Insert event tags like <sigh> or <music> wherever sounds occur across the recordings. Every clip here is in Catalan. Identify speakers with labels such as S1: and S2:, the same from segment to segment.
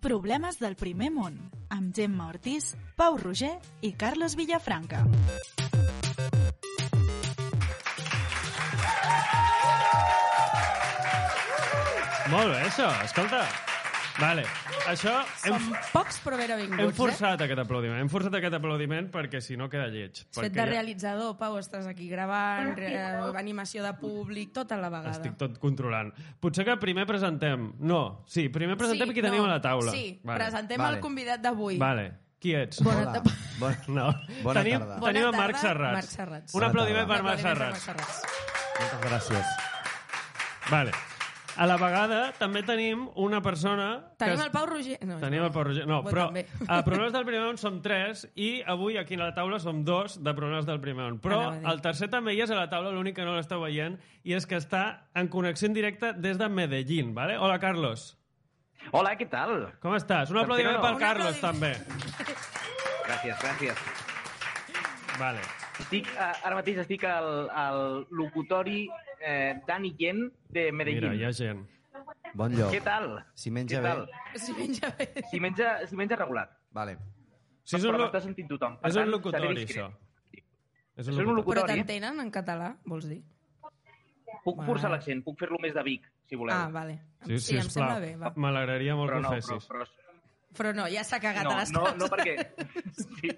S1: Problemes del primer món, amb Gemma Ortiz, Pau Roger i Carles Villafranca.
S2: Molt bé, això. Escolta. Vale. Això hem,
S3: Som pocs però eh? benvinguts,
S2: hem forçat aquest aplaudiment. Hem forçat aquest aplaudiment perquè si no queda lleig.
S3: eh? Has fet
S2: perquè
S3: de
S2: ja
S3: realitzador, Pau, estàs aquí gravant, re, animació de públic, tota la vegada.
S2: Estic tot controlant. Potser que primer presentem... No, sí, primer presentem qui tenim
S3: no,
S2: a la taula.
S3: Sí, presentem
S4: Vale.
S3: el convidat d'avui.
S2: Vale. Qui ets?
S3: Bona
S4: Hola.
S3: tarda.
S4: Bona,
S2: No.
S4: Bona
S2: tenim,
S4: tarda.
S2: Tenim a
S3: Bona
S2: Marc
S3: tarda,
S2: Serrats.
S3: Marc Serrats.
S2: Un
S4: Bona
S2: aplaudiment
S4: tarda.
S2: per Marc Serrats.
S4: Moltes gràcies.
S2: Vale. A la vegada també tenim una persona... que
S3: Tenim
S2: es-
S3: el Pau Roger... No,
S2: Tenim el Pau Roger. No,
S3: Bo,
S2: però
S3: també.
S2: a Problemes del Primer Món som tres i avui aquí a la taula som dos de Problemes del Primer Món. Però
S3: Anava a dir.
S2: el tercer també hi és a la taula, l'únic que no l'està veient, i és que està en connexió en directe des de Medellín. ¿vale? Hola, Carlos.
S5: Hola, ¿qué tal?
S2: Com estàs? Un
S5: Tercer
S2: aplaudiment
S5: no.
S2: pel
S3: Un
S2: Carlos, també.
S3: aplaudiment.
S5: Gràcies, gràcies.
S2: Vale.
S5: Estic, eh, ara mateix estic al, al locutori eh, Dani Yen de Medellín.
S2: Mira, hi ha gent.
S4: Bon lloc.
S5: Què tal?
S4: Si menja
S5: Què
S4: bé.
S5: tal?
S3: <laughs> Si menja bé.
S5: Si menja, si menja regular.
S4: Vale.
S2: Si és un,
S5: però
S2: lo-
S5: m'està sentint tothom. Per
S2: és un
S5: tant, seré
S2: locutori,
S5: discret.
S2: això. És
S5: Això és un
S3: Però
S5: locutori.
S3: t'entenen en català, vols dir?
S5: Puc forçar l'accent, puc fer-lo més de Vic, si voleu.
S3: Ah, vale.
S2: Sí, sí,
S3: em sembla bé. Va.
S2: M'alegraria molt
S5: però
S2: que
S5: no,
S2: ho
S5: però,
S2: fessis.
S5: però,
S3: Però no, ja s'ha cagat
S5: no,
S3: a les
S5: no,
S3: taules.
S5: no perquè...
S3: <laughs>
S5: Sí,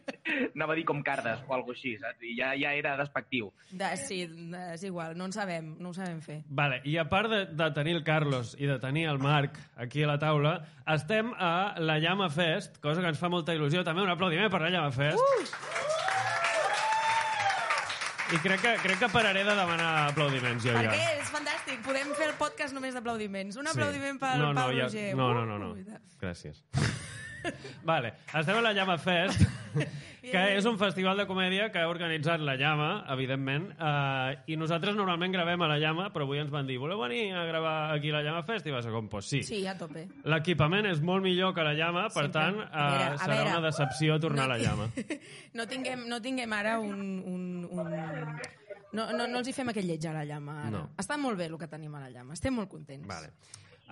S5: anava a dir com cardes o alguna així, saps? I ja, ja era despectiu.
S3: De, sí, de- és igual, no en sabem, no ho sabem fer.
S2: Vale, i a part de, de tenir el Carlos i de tenir el Marc aquí a la taula, estem a la Llama Fest, cosa que ens fa molta il·lusió. També un aplaudiment per la Llama Fest. I crec que, crec que pararé de demanar aplaudiments, jo
S3: Perquè
S2: ja.
S3: és fantàstic, podem fer el podcast només d'aplaudiments. Un
S2: Sí.
S3: aplaudiment pel
S2: no, no,
S3: Pau
S2: ja-
S3: Roger.
S2: No, no, no,
S3: Ui, de-
S2: no. Gràcies. <laughs> Vale, estem a la Llama
S3: <laughs>
S2: Fest, que és un festival de comèdia que ha organitzat la Llama, evidentment, eh, i nosaltres normalment gravem a la Llama, però avui ens van dir, voleu venir a gravar aquí a la Llama Fest? I va ser com, pues sí.
S3: Sí, a tope.
S2: L'equipament és molt millor que la llama, per
S3: Sempre.
S2: tant, eh,
S3: A veure, a
S2: serà
S3: veure.
S2: una decepció tornar
S3: No
S2: a la
S3: ti- <laughs>
S2: llama.
S3: No tinguem, no tinguem ara un... un, un... No, no, no els hi fem aquest lleig a la llama. Ara.
S2: No.
S3: Està molt bé el que tenim a la llama. Estem molt contents.
S2: Vale.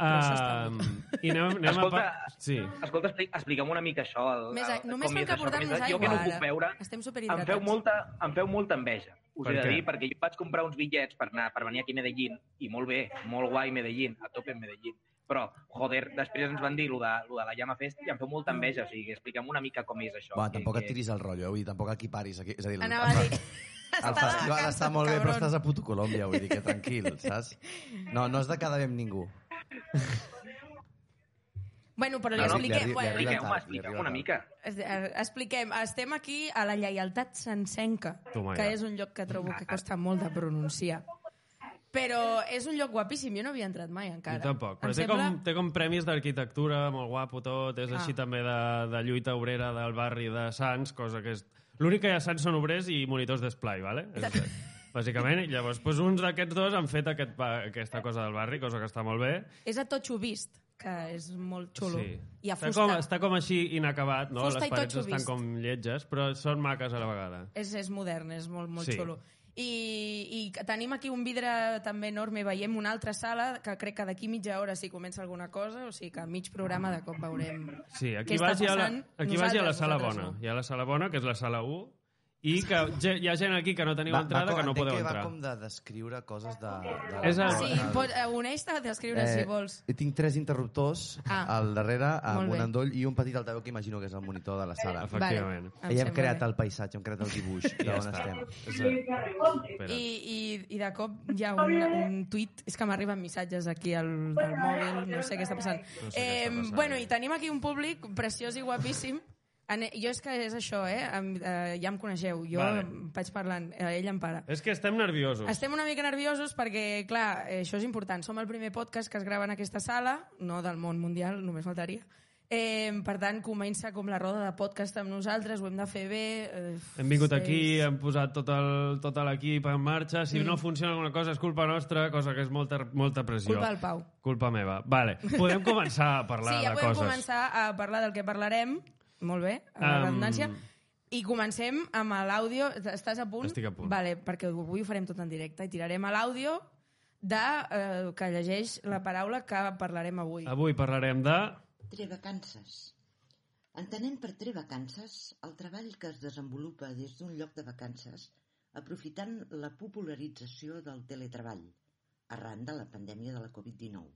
S3: Però s'està
S2: Uh, I anem, anem
S5: Escolta,
S2: a... Pa... Sí.
S5: Escolta, expli- explica'm una mica això. El,
S3: Més a-
S5: el,
S3: només
S5: com
S3: cal
S5: és
S3: que
S5: això,
S3: portem-nos
S5: com és-
S3: aigua,
S5: Jo que no ho
S3: ara.
S5: puc veure,
S3: Estem
S5: em
S3: superhidratats.
S5: feu, molta, em feu molta enveja, us
S2: Per
S5: he de
S2: què?
S5: dir, perquè jo vaig comprar uns bitllets per, anar, per venir aquí a Medellín, i molt bé, molt guai Medellín, a tope en Medellín. Però, joder, després ens van dir lo de, lo de la Llama Fest i em feu molta enveja, o sigui, que explica'm una mica com és això.
S4: Va,
S5: que-
S4: tampoc et
S5: que-
S4: tiris el rotllo, eh? vull dir, tampoc aquí paris. Aquí, és a dir, el,
S3: Anava a
S4: <laughs>
S3: dir...
S4: el
S3: de
S4: festival
S3: vacances,
S4: està molt bé, però
S3: cabron.
S4: estàs a puto Colòmbia, vull dir que tranquil,
S3: <laughs>
S4: saps? No, no has de quedar bé amb ningú.
S3: Bueno, però li
S5: No, no,
S3: expliquem...
S4: li arri- li
S3: bueno,
S4: arriba
S5: Expliqueu-me,
S4: tard,
S5: expliqueu
S4: arriba
S5: una
S4: tard.
S5: mica.
S3: Es- eh, Expliquem, estem aquí a la Lleialtat Sencenca,
S2: Toma
S3: que
S2: ja.
S3: és un lloc que trobo que costa molt de pronunciar. Però és un lloc guapíssim, jo no havia entrat mai
S2: Jo
S3: encara.
S2: tampoc.
S3: Em
S2: Però té,
S3: sembla-
S2: com, té com premis d'arquitectura, molt guapo tot, és
S3: Ah.
S2: així també de, de lluita obrera del barri de Sants, cosa que és... L'únic que hi ha a Sants són obrers i monitors d'esplai, vale? És, bàsicament, i llavors, doncs, uns d'aquests dos han fet aquest, pa- aquesta cosa del barri, cosa que està molt bé.
S3: És a totxo vist, que és molt xulo.
S2: Sí.
S3: I a
S2: està,
S3: fusta.
S2: com, està com així inacabat, no?
S3: Fusta i
S2: Les parets
S3: totxo
S2: estan
S3: vist.
S2: com lletges, però són maques a la vegada.
S3: És, és modern, és molt, molt
S2: Sí.
S3: sí. xulo. I, I tenim aquí un vidre també enorme, veiem una altra sala que crec que d'aquí mitja hora si comença alguna cosa, o sigui que mig programa de cop veurem
S2: Sí, aquí
S3: què està
S2: vas, hi ha la,
S3: passant.
S2: aquí vas hi ha la
S3: Nosaltres,
S2: sala
S3: vosaltres
S2: bona.
S3: no.
S2: Hi ha la sala bona, que és la sala 1, i que ge- hi ha gent aquí que no teniu entrada, que no
S4: entenc
S2: podeu
S4: que
S2: entrar.
S4: Va com de descriure coses de... de
S2: És el-
S3: Sí, pot, eh, uneix-te a descriure, eh, si vols.
S4: Eh, tinc tres interruptors
S3: Ah.
S4: al darrere, amb
S3: Molt bé.
S4: un endoll i un petit altaveu que imagino que és el monitor de la sala.
S2: Efectivament.
S3: Vale, em
S4: I hem
S3: sembla
S4: creat
S3: bé.
S4: el paisatge, hem creat el dibuix
S2: Ja
S4: d'on
S2: està.
S4: estem.
S2: És el- Espera.
S3: I, i, I de cop hi ha un, un tuit, és que m'arriben missatges aquí al, al mòbil, no sé què està passant.
S2: No sé què està passant.
S3: bueno, i tenim aquí un públic preciós i guapíssim. En, jo és que és això, eh? Em, eh ja em coneixeu, jo
S2: Vale.
S3: vale. vaig parlant, eh, ell em para.
S2: És que estem nerviosos.
S3: Estem una mica nerviosos perquè, clar, eh, això és important. Som el primer podcast que es grava en aquesta sala, no del món mundial, només faltaria. Eh, per tant, comença com la roda de podcast amb nosaltres, ho hem de fer bé. Eh,
S2: Hem vingut aquí,
S3: és-
S2: hem posat tot el- tot l'equip en marxa. Si no funciona alguna cosa és culpa nostra, cosa que és molta, molta pressió.
S3: Culpa del Pau.
S2: Culpa meva. Vale, podem començar a parlar
S3: sí, ja
S2: de
S3: podem
S2: coses.
S3: començar a parlar del que parlarem. Molt bé, a la
S2: Em,
S3: redundància. I comencem amb l'àudio. Estàs a punt?
S2: Estic a punt.
S3: Vale, perquè avui ho farem tot en directe i tirarem a l'àudio de, eh, que llegeix la paraula que parlarem avui.
S2: Ah. Avui parlarem de...
S6: Trevacances. Entenem per trevacances el treball que es desenvolupa des d'un lloc de vacances aprofitant la popularització del teletreball arran de la pandèmia de la Covid-19.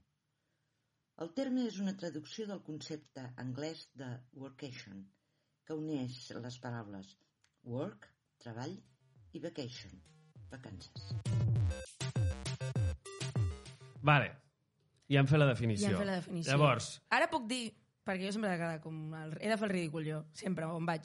S6: El terme és una traducció del concepte anglès de workation, que uneix les paraules work, treball, i vacation, vacances.
S2: Vale. Ja hem fet la
S3: Ja
S2: definició.
S3: hem fet la definició.
S2: Llavors,
S3: Ara puc dir, perquè jo sempre he de quedar com... El, he de fer el ridícul jo, sempre, on vaig,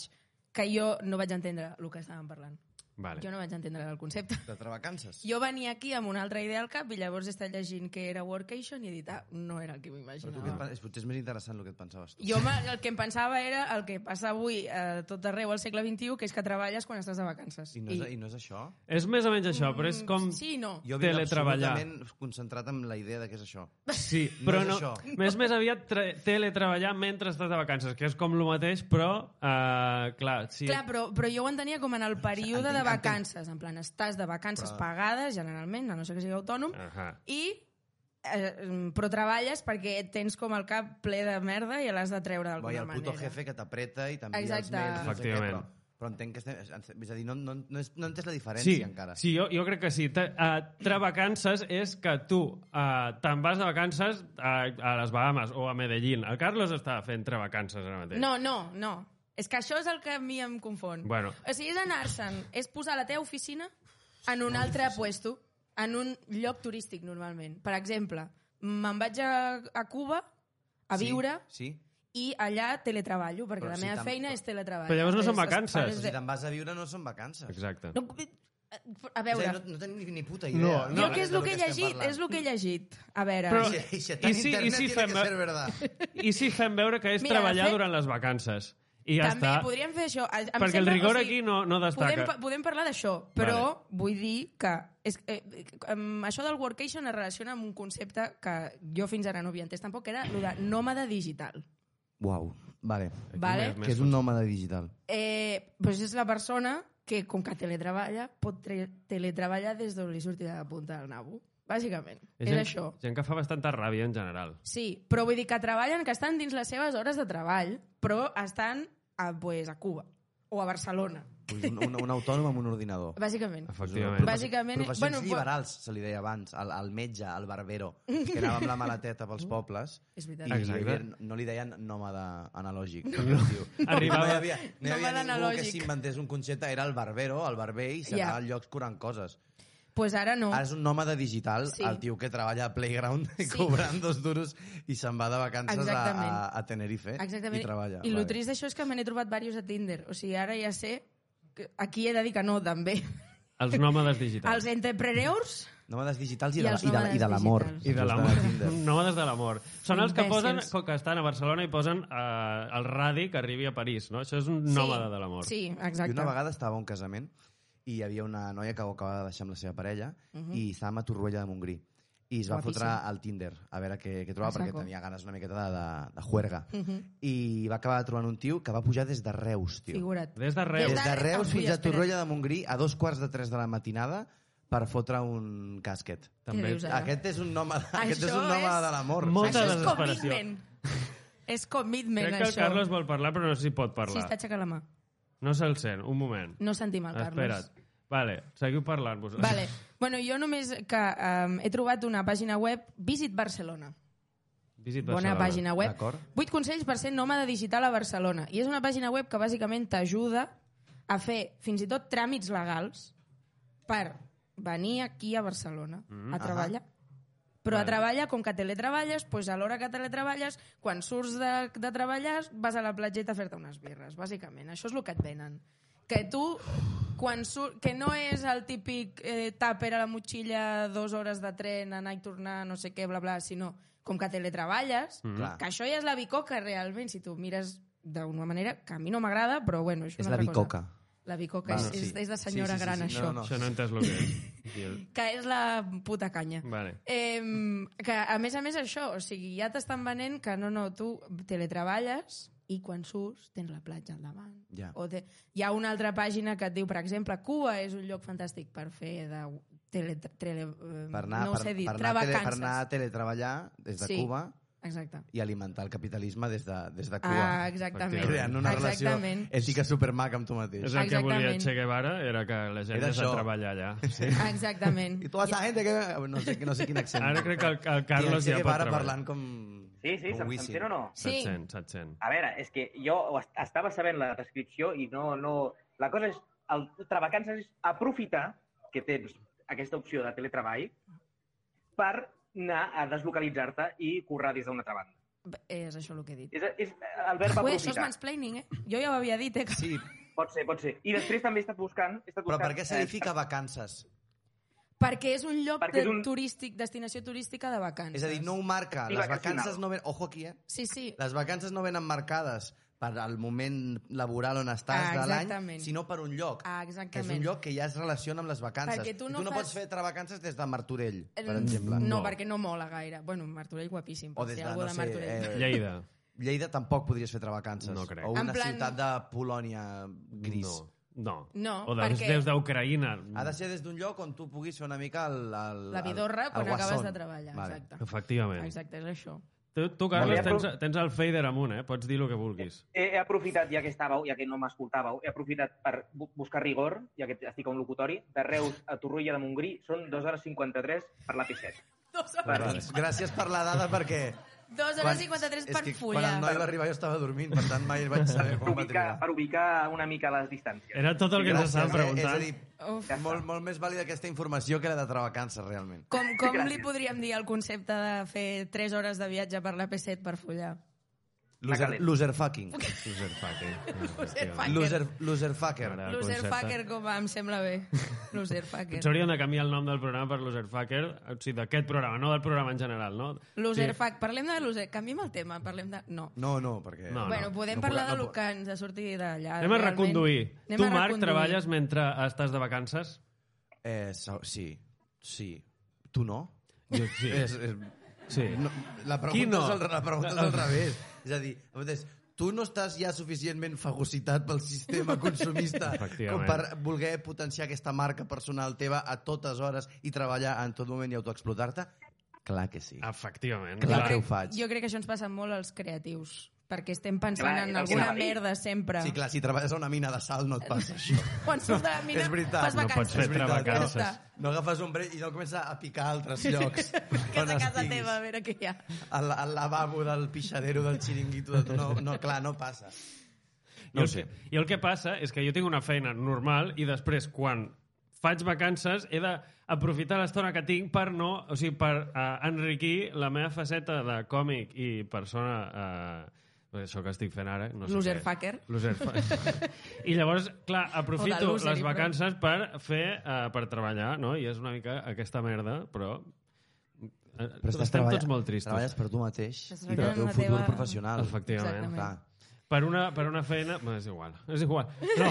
S3: que jo no vaig entendre el que estàvem parlant.
S2: vale.
S3: Jo no vaig entendre el concepte.
S4: De trevacances.
S3: Jo venia aquí amb una altra idea al cap i llavors he estat llegint que era workation i he dit, ah, no era el que
S4: Però tu què et
S3: m'imaginava.
S4: pen- és, potser és més interessant el que et pensaves tu.
S3: Jo me- el que em pensava era el que passa avui a tot arreu al segle XXI, que és que treballes quan estàs de vacances. Mm,
S4: I no és, i no és això?
S2: És més o menys això, però és com...
S3: Sí, i no.
S4: Jo vinc
S2: Teletreballar.
S4: absolutament concentrat en la idea de què és això.
S2: Sí,
S4: No
S2: però
S4: és
S2: no...
S4: això.
S2: Més més aviat tre- teletreballar mentre estàs de vacances, que és com el mateix, però... eh, clar, sí.
S3: Clar, però, però jo ho entenia com en el període
S4: entenc,
S3: de
S4: entenc.
S3: vacances. En plan, estàs de vacances
S4: Però-
S3: pagades, generalment, a no ser que sigui autònom,
S2: Ahà.
S3: i eh, però treballes perquè tens com el cap ple de merda i l'has de treure
S4: Vai,
S3: d'alguna
S4: el puto
S3: manera.
S4: jefe que t'apreta i t'envia els
S3: Exacte.
S4: mails. No sé què,
S2: Efectivament.
S4: però, però entenc que estem... És a dir, no, no, no, és, no he entès la diferència
S2: Sí,
S4: encara.
S2: sí jo, jo crec que sí. Te, uh, trevacances és que tu uh, te'n vas de vacances a, a les Bahames o a Medellín. El Carlos està fent trevacances ara mateix.
S3: No, no, no. És que això és el que a mi em confon.
S2: Bueno.
S3: O sigui, és anar-se'n, és posar la teva oficina en un altre puesto, en un lloc turístic, normalment. Per exemple, me'n vaig a, a Cuba a
S4: Sí,
S3: viure
S4: Sí.
S3: i allà teletreballo, perquè
S4: Però
S3: la
S4: si
S3: meva
S4: tam-
S3: feina és teletreball.
S2: Però llavors no són
S3: És- es-
S2: vacances.
S4: Però
S3: es-
S4: si te'n vas a viure no són vacances.
S2: Exacte.
S3: No, eh, a
S4: És a
S3: veure,
S4: dir, no, no tenim ni- ni puta
S2: No,
S4: idea.
S2: no.
S3: jo
S2: Jo
S3: que és el que he
S4: estem
S3: llegit,
S4: parlant.
S3: és el que he llegit. A veure,
S2: Però-
S4: Sí, sí, sí, tan
S2: I sí- i
S4: internet
S2: sí
S4: tiene que
S2: fem-
S4: ser verdad.
S2: I si fem veure que és
S3: Mira, de
S2: treballar
S3: fet-
S2: durant les vacances. I ja
S3: també
S2: està.
S3: podríem fer això. A- em
S2: Perquè el
S3: sembla-
S2: rigor aquí no- no destaca.
S3: Podem, pa- podem parlar d'això, però vull dir que és, eh, em- això del workation es relaciona amb un concepte que jo fins ara no havia entès tampoc, que era el de nòmada digital.
S4: Uau, vale.
S3: vale?
S2: més, més
S4: Que és un nòmada digital.
S3: Eh, doncs és la persona que, com que teletreballa, pot tre- teletreballar des d'on li surti de la punta del nabo. Bàsicament, és,
S2: gent,
S3: això.
S2: Gent que fa bastanta ràbia en general.
S3: Sí, però vull dir que treballen, que estan dins les seves hores de treball, però estan a, pues, a Cuba o a Barcelona,
S4: Ui, Un, un, un autònom amb un ordinador.
S3: bàsicament.
S2: Efectivament.
S3: Bàsic- Bàsicament-
S4: Professions
S3: bueno,
S4: bueno,
S3: po-
S4: liberals, se li deia abans, al, al metge, al barbero, que anava amb la maleteta pels pobles.
S3: És
S4: I
S3: veritat.
S4: li
S2: Exacte.
S4: havien- no li deien nòmada analògic. No. Diu.
S2: <laughs> Arribava-
S4: No hi havia, no hi havia
S3: Nòmada
S4: ningú
S3: analògic.
S4: que s'inventés un concepte. Era el barbero, el barber, i s'anava
S3: Ja.
S4: yeah. a llocs curant coses.
S3: pues ara no.
S4: Ara és un nòmada digital,
S3: Sí.
S4: sí. el tio que treballa a Playground <laughs>
S3: Sí.
S4: sí. cobrant dos duros i se'n va de vacances a, a,
S3: Exactament.
S4: a Tenerife
S3: Exactament.
S4: i treballa.
S3: I el
S4: Vale.
S3: trist d'això és que me n'he trobat diversos a Tinder. O sigui, ara ja sé que aquí he de dir que no, també.
S2: Els nòmades digitals.
S3: Els entrepreneurs,
S4: Nòmades digitals i,
S3: I
S4: de, la-
S3: els
S4: i, de,
S3: nòmades
S4: i de l'amor.
S3: digitals.
S2: I de
S4: Just
S2: l'amor.
S4: a
S2: <laughs>
S4: Tinder.
S2: Nòmades de l'amor. Són els que posen,
S3: Imbècils.
S2: com que estan a Barcelona i posen eh, el radi que arribi a París, no? Això és un nòmada de l'amor.
S3: Sí,
S4: Exacte.
S3: exacte.
S4: Jo una vegada estava a un casament i hi havia una noia que ho acabava de deixar amb la seva parella uh -huh. i estàvem a Torroella de Montgrí i es va
S3: Mhm. Guapíssim.
S4: fotre al Tinder a veure què, què trobava
S3: A
S4: perquè
S3: saco.
S4: tenia ganes una miqueta de, de, de juerga
S3: Mm.
S4: uh -huh.
S3: Mhm,
S4: i va acabar trobant un tio que va pujar des de Reus tio.
S3: Figura't.
S2: Des de Reus.
S4: des
S3: Des de
S4: de
S3: Reus,
S4: Reus fins a
S3: espera't.
S4: Torroella de Montgrí a dos quarts de tres de la matinada per fotre un casquet
S2: També.
S3: dius ara?
S4: aquest és un nom, aquest és
S3: Això
S4: un nom
S3: és-
S4: de l'amor
S2: Molta
S3: Això és
S2: desesperació.
S3: commitment. és commitment,
S2: Crec que el
S3: això.
S2: Carlos vol parlar, però no s'hi pot
S3: Sí,
S2: parlar.
S3: està aixecant la mà.
S2: No se'l sent. Un moment.
S3: No sentim el Carlos.
S2: Espera't. Vale, seguiu parlant. Vos... <laughs>
S3: Vale. Bueno, jo només que um, he trobat una pàgina web, Visit Barcelona.
S2: Visit
S3: Bona
S2: Barcelona.
S3: pàgina web.
S4: D'acord.
S3: 8 consells per ser nòmada digital a Barcelona. I és una pàgina web que bàsicament t'ajuda a fer fins i tot tràmits legals per venir aquí a Barcelona a treballar. Però a
S2: Vale.
S3: treballar, com que teletreballes, doncs a l'hora que teletreballes, quan surts de, de treballar, vas a la platgeta a fer-te unes birres, bàsicament. Això és el que et venen. Que tu, quan sur... que no és el típic eh, tàper a la motxilla, dues hores de tren, anar i tornar, no sé què, bla, bla, sinó com que teletreballes, mm
S4: Clar.
S3: que això ja és la bicoca, realment, si tu mires d'una manera que a mi no m'agrada, però bueno, és,
S4: és
S3: una
S4: la
S3: altra
S4: bicoca
S3: Cosa. La bicoca
S4: Val,
S3: és, és,
S4: sí.
S3: és de senyora
S4: Sí, sí, sí,
S3: gran,
S4: sí.
S3: això.
S4: No, no.
S2: Això no he entès el
S4: <laughs>
S2: que és.
S3: Que és la puta canya.
S4: Mm.
S2: Vale.
S3: Eh, que, a més a més, això, o sigui, ja t'estan venent que no, no, tu teletreballes i quan surts tens la platja al davant.
S4: Ja.
S3: O te... Hi ha una altra pàgina que et diu, per exemple, Cuba és un lloc fantàstic per fer de... Tele, tele, eh,
S4: per anar,
S3: no ho
S4: per,
S3: sé dir,
S4: per, anar a tele, per
S3: trevacances.
S4: anar a teletreballar des de
S3: Sí.
S4: Cuba
S3: Exacte.
S4: i alimentar el capitalisme des de, des de cua.
S3: Ah, exactament.
S4: creant una
S3: Exactament.
S4: relació ètica supermaca amb tu mateix.
S2: És el que volia
S3: Exactament.
S2: Che Guevara, era que la gent
S4: Era
S2: anés a
S4: això.
S2: treballar allà. Sí.
S3: Ah, Exactament.
S4: <laughs> I tota aquesta gent que... No sé, no sé quin accent.
S2: Ara crec que el, el Carlos
S4: Che
S2: ja pot
S4: Guevara
S2: treballar.
S4: parlant com...
S5: Sí, sí,
S4: com
S5: se'm, se'm
S4: Wisin.
S5: sent o no?
S3: Sí,
S2: 700, 700.
S5: A veure, és que jo ho est- estava sabent la descripció i no... no... La cosa és, el Travacances és aprofitar que tens aquesta opció de teletreball per anar a deslocalitzar-te i currar des d'una altra banda.
S3: és això el que he dit.
S5: És, és el verb
S3: Ui, això és
S5: aprofitar.
S3: mansplaining, eh? Jo ja ho havia dit, eh? que-
S4: Sí,
S5: Pot ser, pot ser. I després també he estat buscant... He estat
S4: però
S5: buscant
S4: per què s'edifica vacances?
S3: Perquè és un lloc
S5: Perquè
S3: de
S5: és un-
S3: turístic, destinació turística de vacances.
S4: És a dir, no ho marca.
S5: Sí,
S4: Les
S5: vacacional.
S4: vacances no ven... Ojo aquí, eh?
S3: Sí, sí.
S4: Les vacances no venen marcades per al moment laboral on estàs
S3: Ah,
S4: de l'any,
S3: exactament.
S4: sinó per un lloc.
S3: Ah,
S4: que és
S3: exactament.
S4: un lloc que ja es relaciona amb les vacances.
S3: Perquè tu no
S4: I tu no
S3: fas-
S4: pots fer travacances des de Martorell, per
S3: Eh,
S4: exemple.
S2: No.
S3: No, perquè no mola gaire. Bueno, Martorell guapíssim,
S4: O
S3: per
S4: des
S3: ser
S4: de,
S3: algú
S4: no
S3: de
S4: sé,
S3: Martorell.
S4: eh,
S2: Lleida.
S4: Lleida tampoc podries fer travacances.
S2: No crec.
S4: O
S3: En
S4: una
S3: plan-
S4: ciutat de Polònia gris.
S2: No. No.
S3: No,
S2: o dels
S3: perquè-
S2: déus d'Ucraïna.
S4: Ha de ser des d'un lloc on tu puguis fer una mica el... el
S3: <laughs> La vidorra
S4: el- el
S3: quan acabes
S4: guasón.
S3: de treballar, exacte.
S2: Efectivament.
S3: Exacte, és això.
S2: Tu, tu Carles,
S5: Molt bé.
S2: tens, tens el fader amunt, eh? Pots dir el que
S3: <laughs>
S2: vulguis.
S5: eh, He, he aprofitat, ja que estàveu, ja que no m'escoltàveu, he aprofitat per bu buscar rigor, ja que estic a un locutori, de Reus a Torroella de Montgrí són 2 hores 53 per l'AP7.
S3: Dos
S5: Per-
S3: hores,
S4: Doncs gràcies per la dada, perquè...
S3: <laughs> dos hores
S4: quan-
S3: 53
S4: és
S3: per
S4: que Quan
S3: fulla.
S4: el noi va arribar jo estava dormint, per tant mai vaig saber
S5: Per
S4: quan va
S5: ubicar,
S4: trigar.
S5: per ubicar una mica les distàncies.
S2: Era tot el que ens estàvem
S4: eh? És a
S2: preguntant.
S4: dir,
S3: Uf.
S4: molt, molt més vàlida aquesta informació que la de travacances, realment.
S3: Com, com li
S5: Gràcies.
S3: podríem dir el concepte de fer 3 hores de viatge per la P7 per follar?
S4: Loser,
S5: calent.
S3: <laughs>
S4: loser fucking.
S2: Loser fucker.
S3: Loser fucker.
S4: Loser, loser fucker.
S2: M'agrada. El
S3: Loser
S2: concepte.
S3: fucker, com va, em sembla bé.
S2: <laughs>
S3: Loser fucker.
S2: Potser hauríem de canviar el nom del programa per Loser Fucker, o sigui, d'aquest programa, no del programa en general, no?
S3: Loser fuck. Parlem de loser. Canviem el tema, parlem de... No.
S4: No, no, perquè...
S2: No,
S3: bueno, podem
S4: No
S3: parlar
S4: puc-
S3: de
S4: no
S3: lo que ens ha sortit d'allà.
S2: Anem a
S3: realment.
S2: reconduir.
S3: Anem
S2: tu,
S3: a
S2: Marc,
S3: reconduir.
S2: treballes mentre estàs de vacances?
S4: Eh, so- sí, sí. Tu no?
S2: Jo, sí.
S4: <laughs> És, és...
S2: sí.
S4: No, la
S2: Qui <laughs>
S4: pregunta,
S2: no?
S4: és, al, la pregunta és al revés. És a dir, és, tu no estàs ja suficientment fagocitat pel
S2: <laughs>
S4: sistema consumista com
S2: Efectivament.
S4: per voler potenciar aquesta marca personal teva a totes hores i treballar en tot moment i autoexplotar-te? Clar que sí.
S2: Ah. Efectivament.
S4: Clar que ho
S2: Clar.
S4: faig.
S3: Jo crec que això ens passa molt als creatius, perquè estem pensant
S5: Clar,
S3: en
S5: és el que
S3: alguna
S5: anava a dir.
S3: merda sempre.
S4: Sí, clar, si treballes a una mina de sal no et
S2: <laughs>
S4: passa això.
S3: Quan surts de la mina,
S4: <laughs> És veritat,
S3: fas
S4: no
S3: vacances.
S2: pots fer
S3: És veritat,
S2: travacances.
S3: ja està.
S4: No agafes un break i no comença a picar a altres llocs.
S3: Que és
S4: on
S3: a casa
S4: estiguis.
S3: teva, a veure què hi ha.
S4: Al, al lavabo del pixadero del xiringuito. De... No, no, clar, no passa.
S2: I,
S4: No ho
S2: el
S4: sé.
S2: que, I el que passa és que jo tinc una feina normal i després, quan faig vacances, he d'aprofitar l'estona que tinc per no... O sigui, per eh, enriquir la meva faceta de còmic i persona... Eh, això que estic fent ara... No sé
S3: Loser
S2: què.
S3: fucker.
S2: Loser
S3: <laughs>
S2: fucker. I llavors, clar, aprofito
S3: O de loser
S2: les
S3: i prou.
S2: vacances per fer... Eh, per treballar, no? I és una mica aquesta merda, però... eh, estem tots molt tristos.
S4: Treballes per tu mateix
S3: Estàs
S4: i pel
S3: treballant
S4: teu
S3: en la
S4: futur
S3: teva-
S4: professional.
S2: Efectivament.
S3: Exactament.
S4: Clar.
S2: Per una, per una feina... Bé, és igual, és igual. No,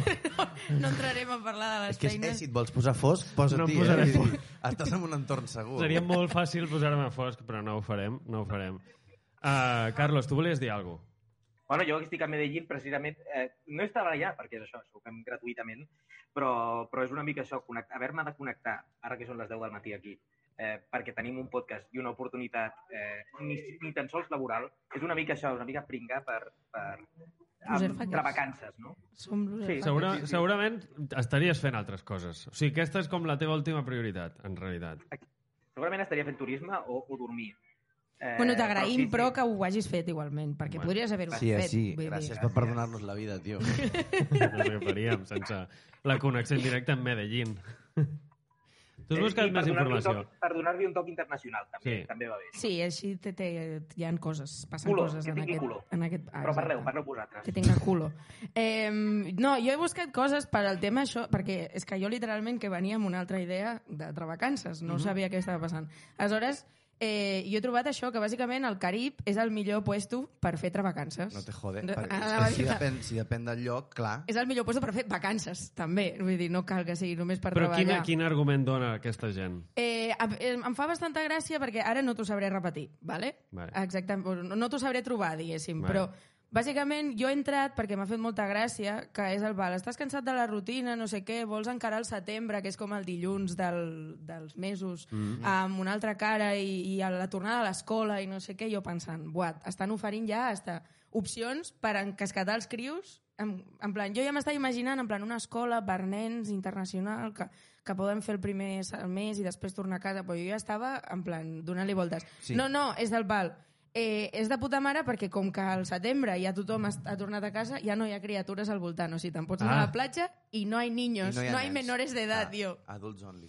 S3: No entrarem a parlar de les
S4: És que és, eh,
S3: feines.
S4: si et vols posar fosc, posa-t'hi.
S2: No em
S4: eh?
S2: posaré
S4: Vull dir,
S2: fosc.
S4: <laughs> Estàs en un entorn segur.
S2: Seria molt fàcil posar-me a fosc, però no ho farem, no ho farem. Uh, Carlos, tu volies dir alguna cosa?
S5: Bueno, jo que estic a Medellín, precisament, eh, no estava allà, perquè és això, això ho fem gratuïtament, però, però és una mica això, connect- haver-me de connectar, ara que són les 10 del matí aquí, eh, perquè tenim un podcast i una oportunitat eh, ni, ni tan sols laboral, és una mica això, una mica pringar per, per
S3: Loser
S5: amb,
S3: fuckers.
S5: entre vacances, no?
S3: Som loser
S5: Sí.
S3: fucker.
S2: Segura,
S5: sí, sí.
S2: segurament estaries fent altres coses. O sigui, aquesta és com la teva última prioritat, en realitat.
S5: Segurament estaria fent turisme o, o dormir. Eh,
S3: Bueno, t'agraïm,
S5: però
S3: però, que ho hagis fet igualment, perquè
S2: Bueno.
S3: podries haver-ho
S4: Sí, eh,
S3: fet.
S4: sí.
S3: vull dir.
S4: Gràcies per perdonar-nos la vida, tio.
S2: No sé què faríem sense la connexió en directe amb Medellín. Tu has buscat més informació.
S5: Eh, Per donar-li un toc internacional, també,
S2: Sí.
S5: sí. també va bé.
S3: Sí, així té, té, hi han coses, passen
S5: Culo,
S3: coses
S5: que
S3: en
S5: tingui
S3: aquest,
S5: culo.
S3: en aquest... Ah,
S5: Però parleu,
S3: exacte.
S5: parleu vosaltres.
S3: que tinga culo. Eh, no, jo he buscat coses per al tema això, perquè és que jo literalment que venia amb una altra idea de travacances,
S5: Mhm.
S3: no sabia què estava passant. Aleshores, eh, jo he trobat això, que bàsicament el Carib és el millor puesto per fer travacances.
S4: No te jode.
S3: No,
S4: perquè
S3: anava a
S4: és que si,
S3: dir-
S4: depèn, si depèn del lloc, clar.
S3: És el millor puesto per fer vacances, també. Vull dir, no cal que sigui només per
S2: Però quin,
S3: treballar.
S2: quin argument dona aquesta gent?
S3: Eh, em- eh, em fa bastanta gràcia perquè ara no t'ho sabré repetir, vale?
S2: Vale.
S3: Exactament, no, no t'ho sabré trobar, diguéssim,
S2: Vale.
S3: però Bàsicament, jo he entrat perquè m'ha fet molta gràcia, que és el val, estàs cansat de la rutina, no sé què, vols encarar el setembre, que és com el dilluns del, dels mesos, mm -hmm. amb una altra cara i, i a la tornada a l'escola i no sé què, jo pensant, buat, estan oferint ja hasta opcions per encasquetar els crios, en, en plan, jo ja m'estava imaginant en plan una escola per nens internacional que, que poden fer el primer s- el mes i després tornar a casa, però jo ja estava en plan donant-li voltes.
S4: Sí.
S3: Sí. No, no, és del pal. Eh, és de puta mare perquè com que al setembre ja tothom ha, ha tornat a casa, ja no hi ha criatures al voltant, o sigui, te'n pots anar
S2: Ah.
S3: a la platja i no hi ha niños, no hi ha, no hi ha
S4: nens.
S3: menores d'edat, tio.
S4: Ah, adults only.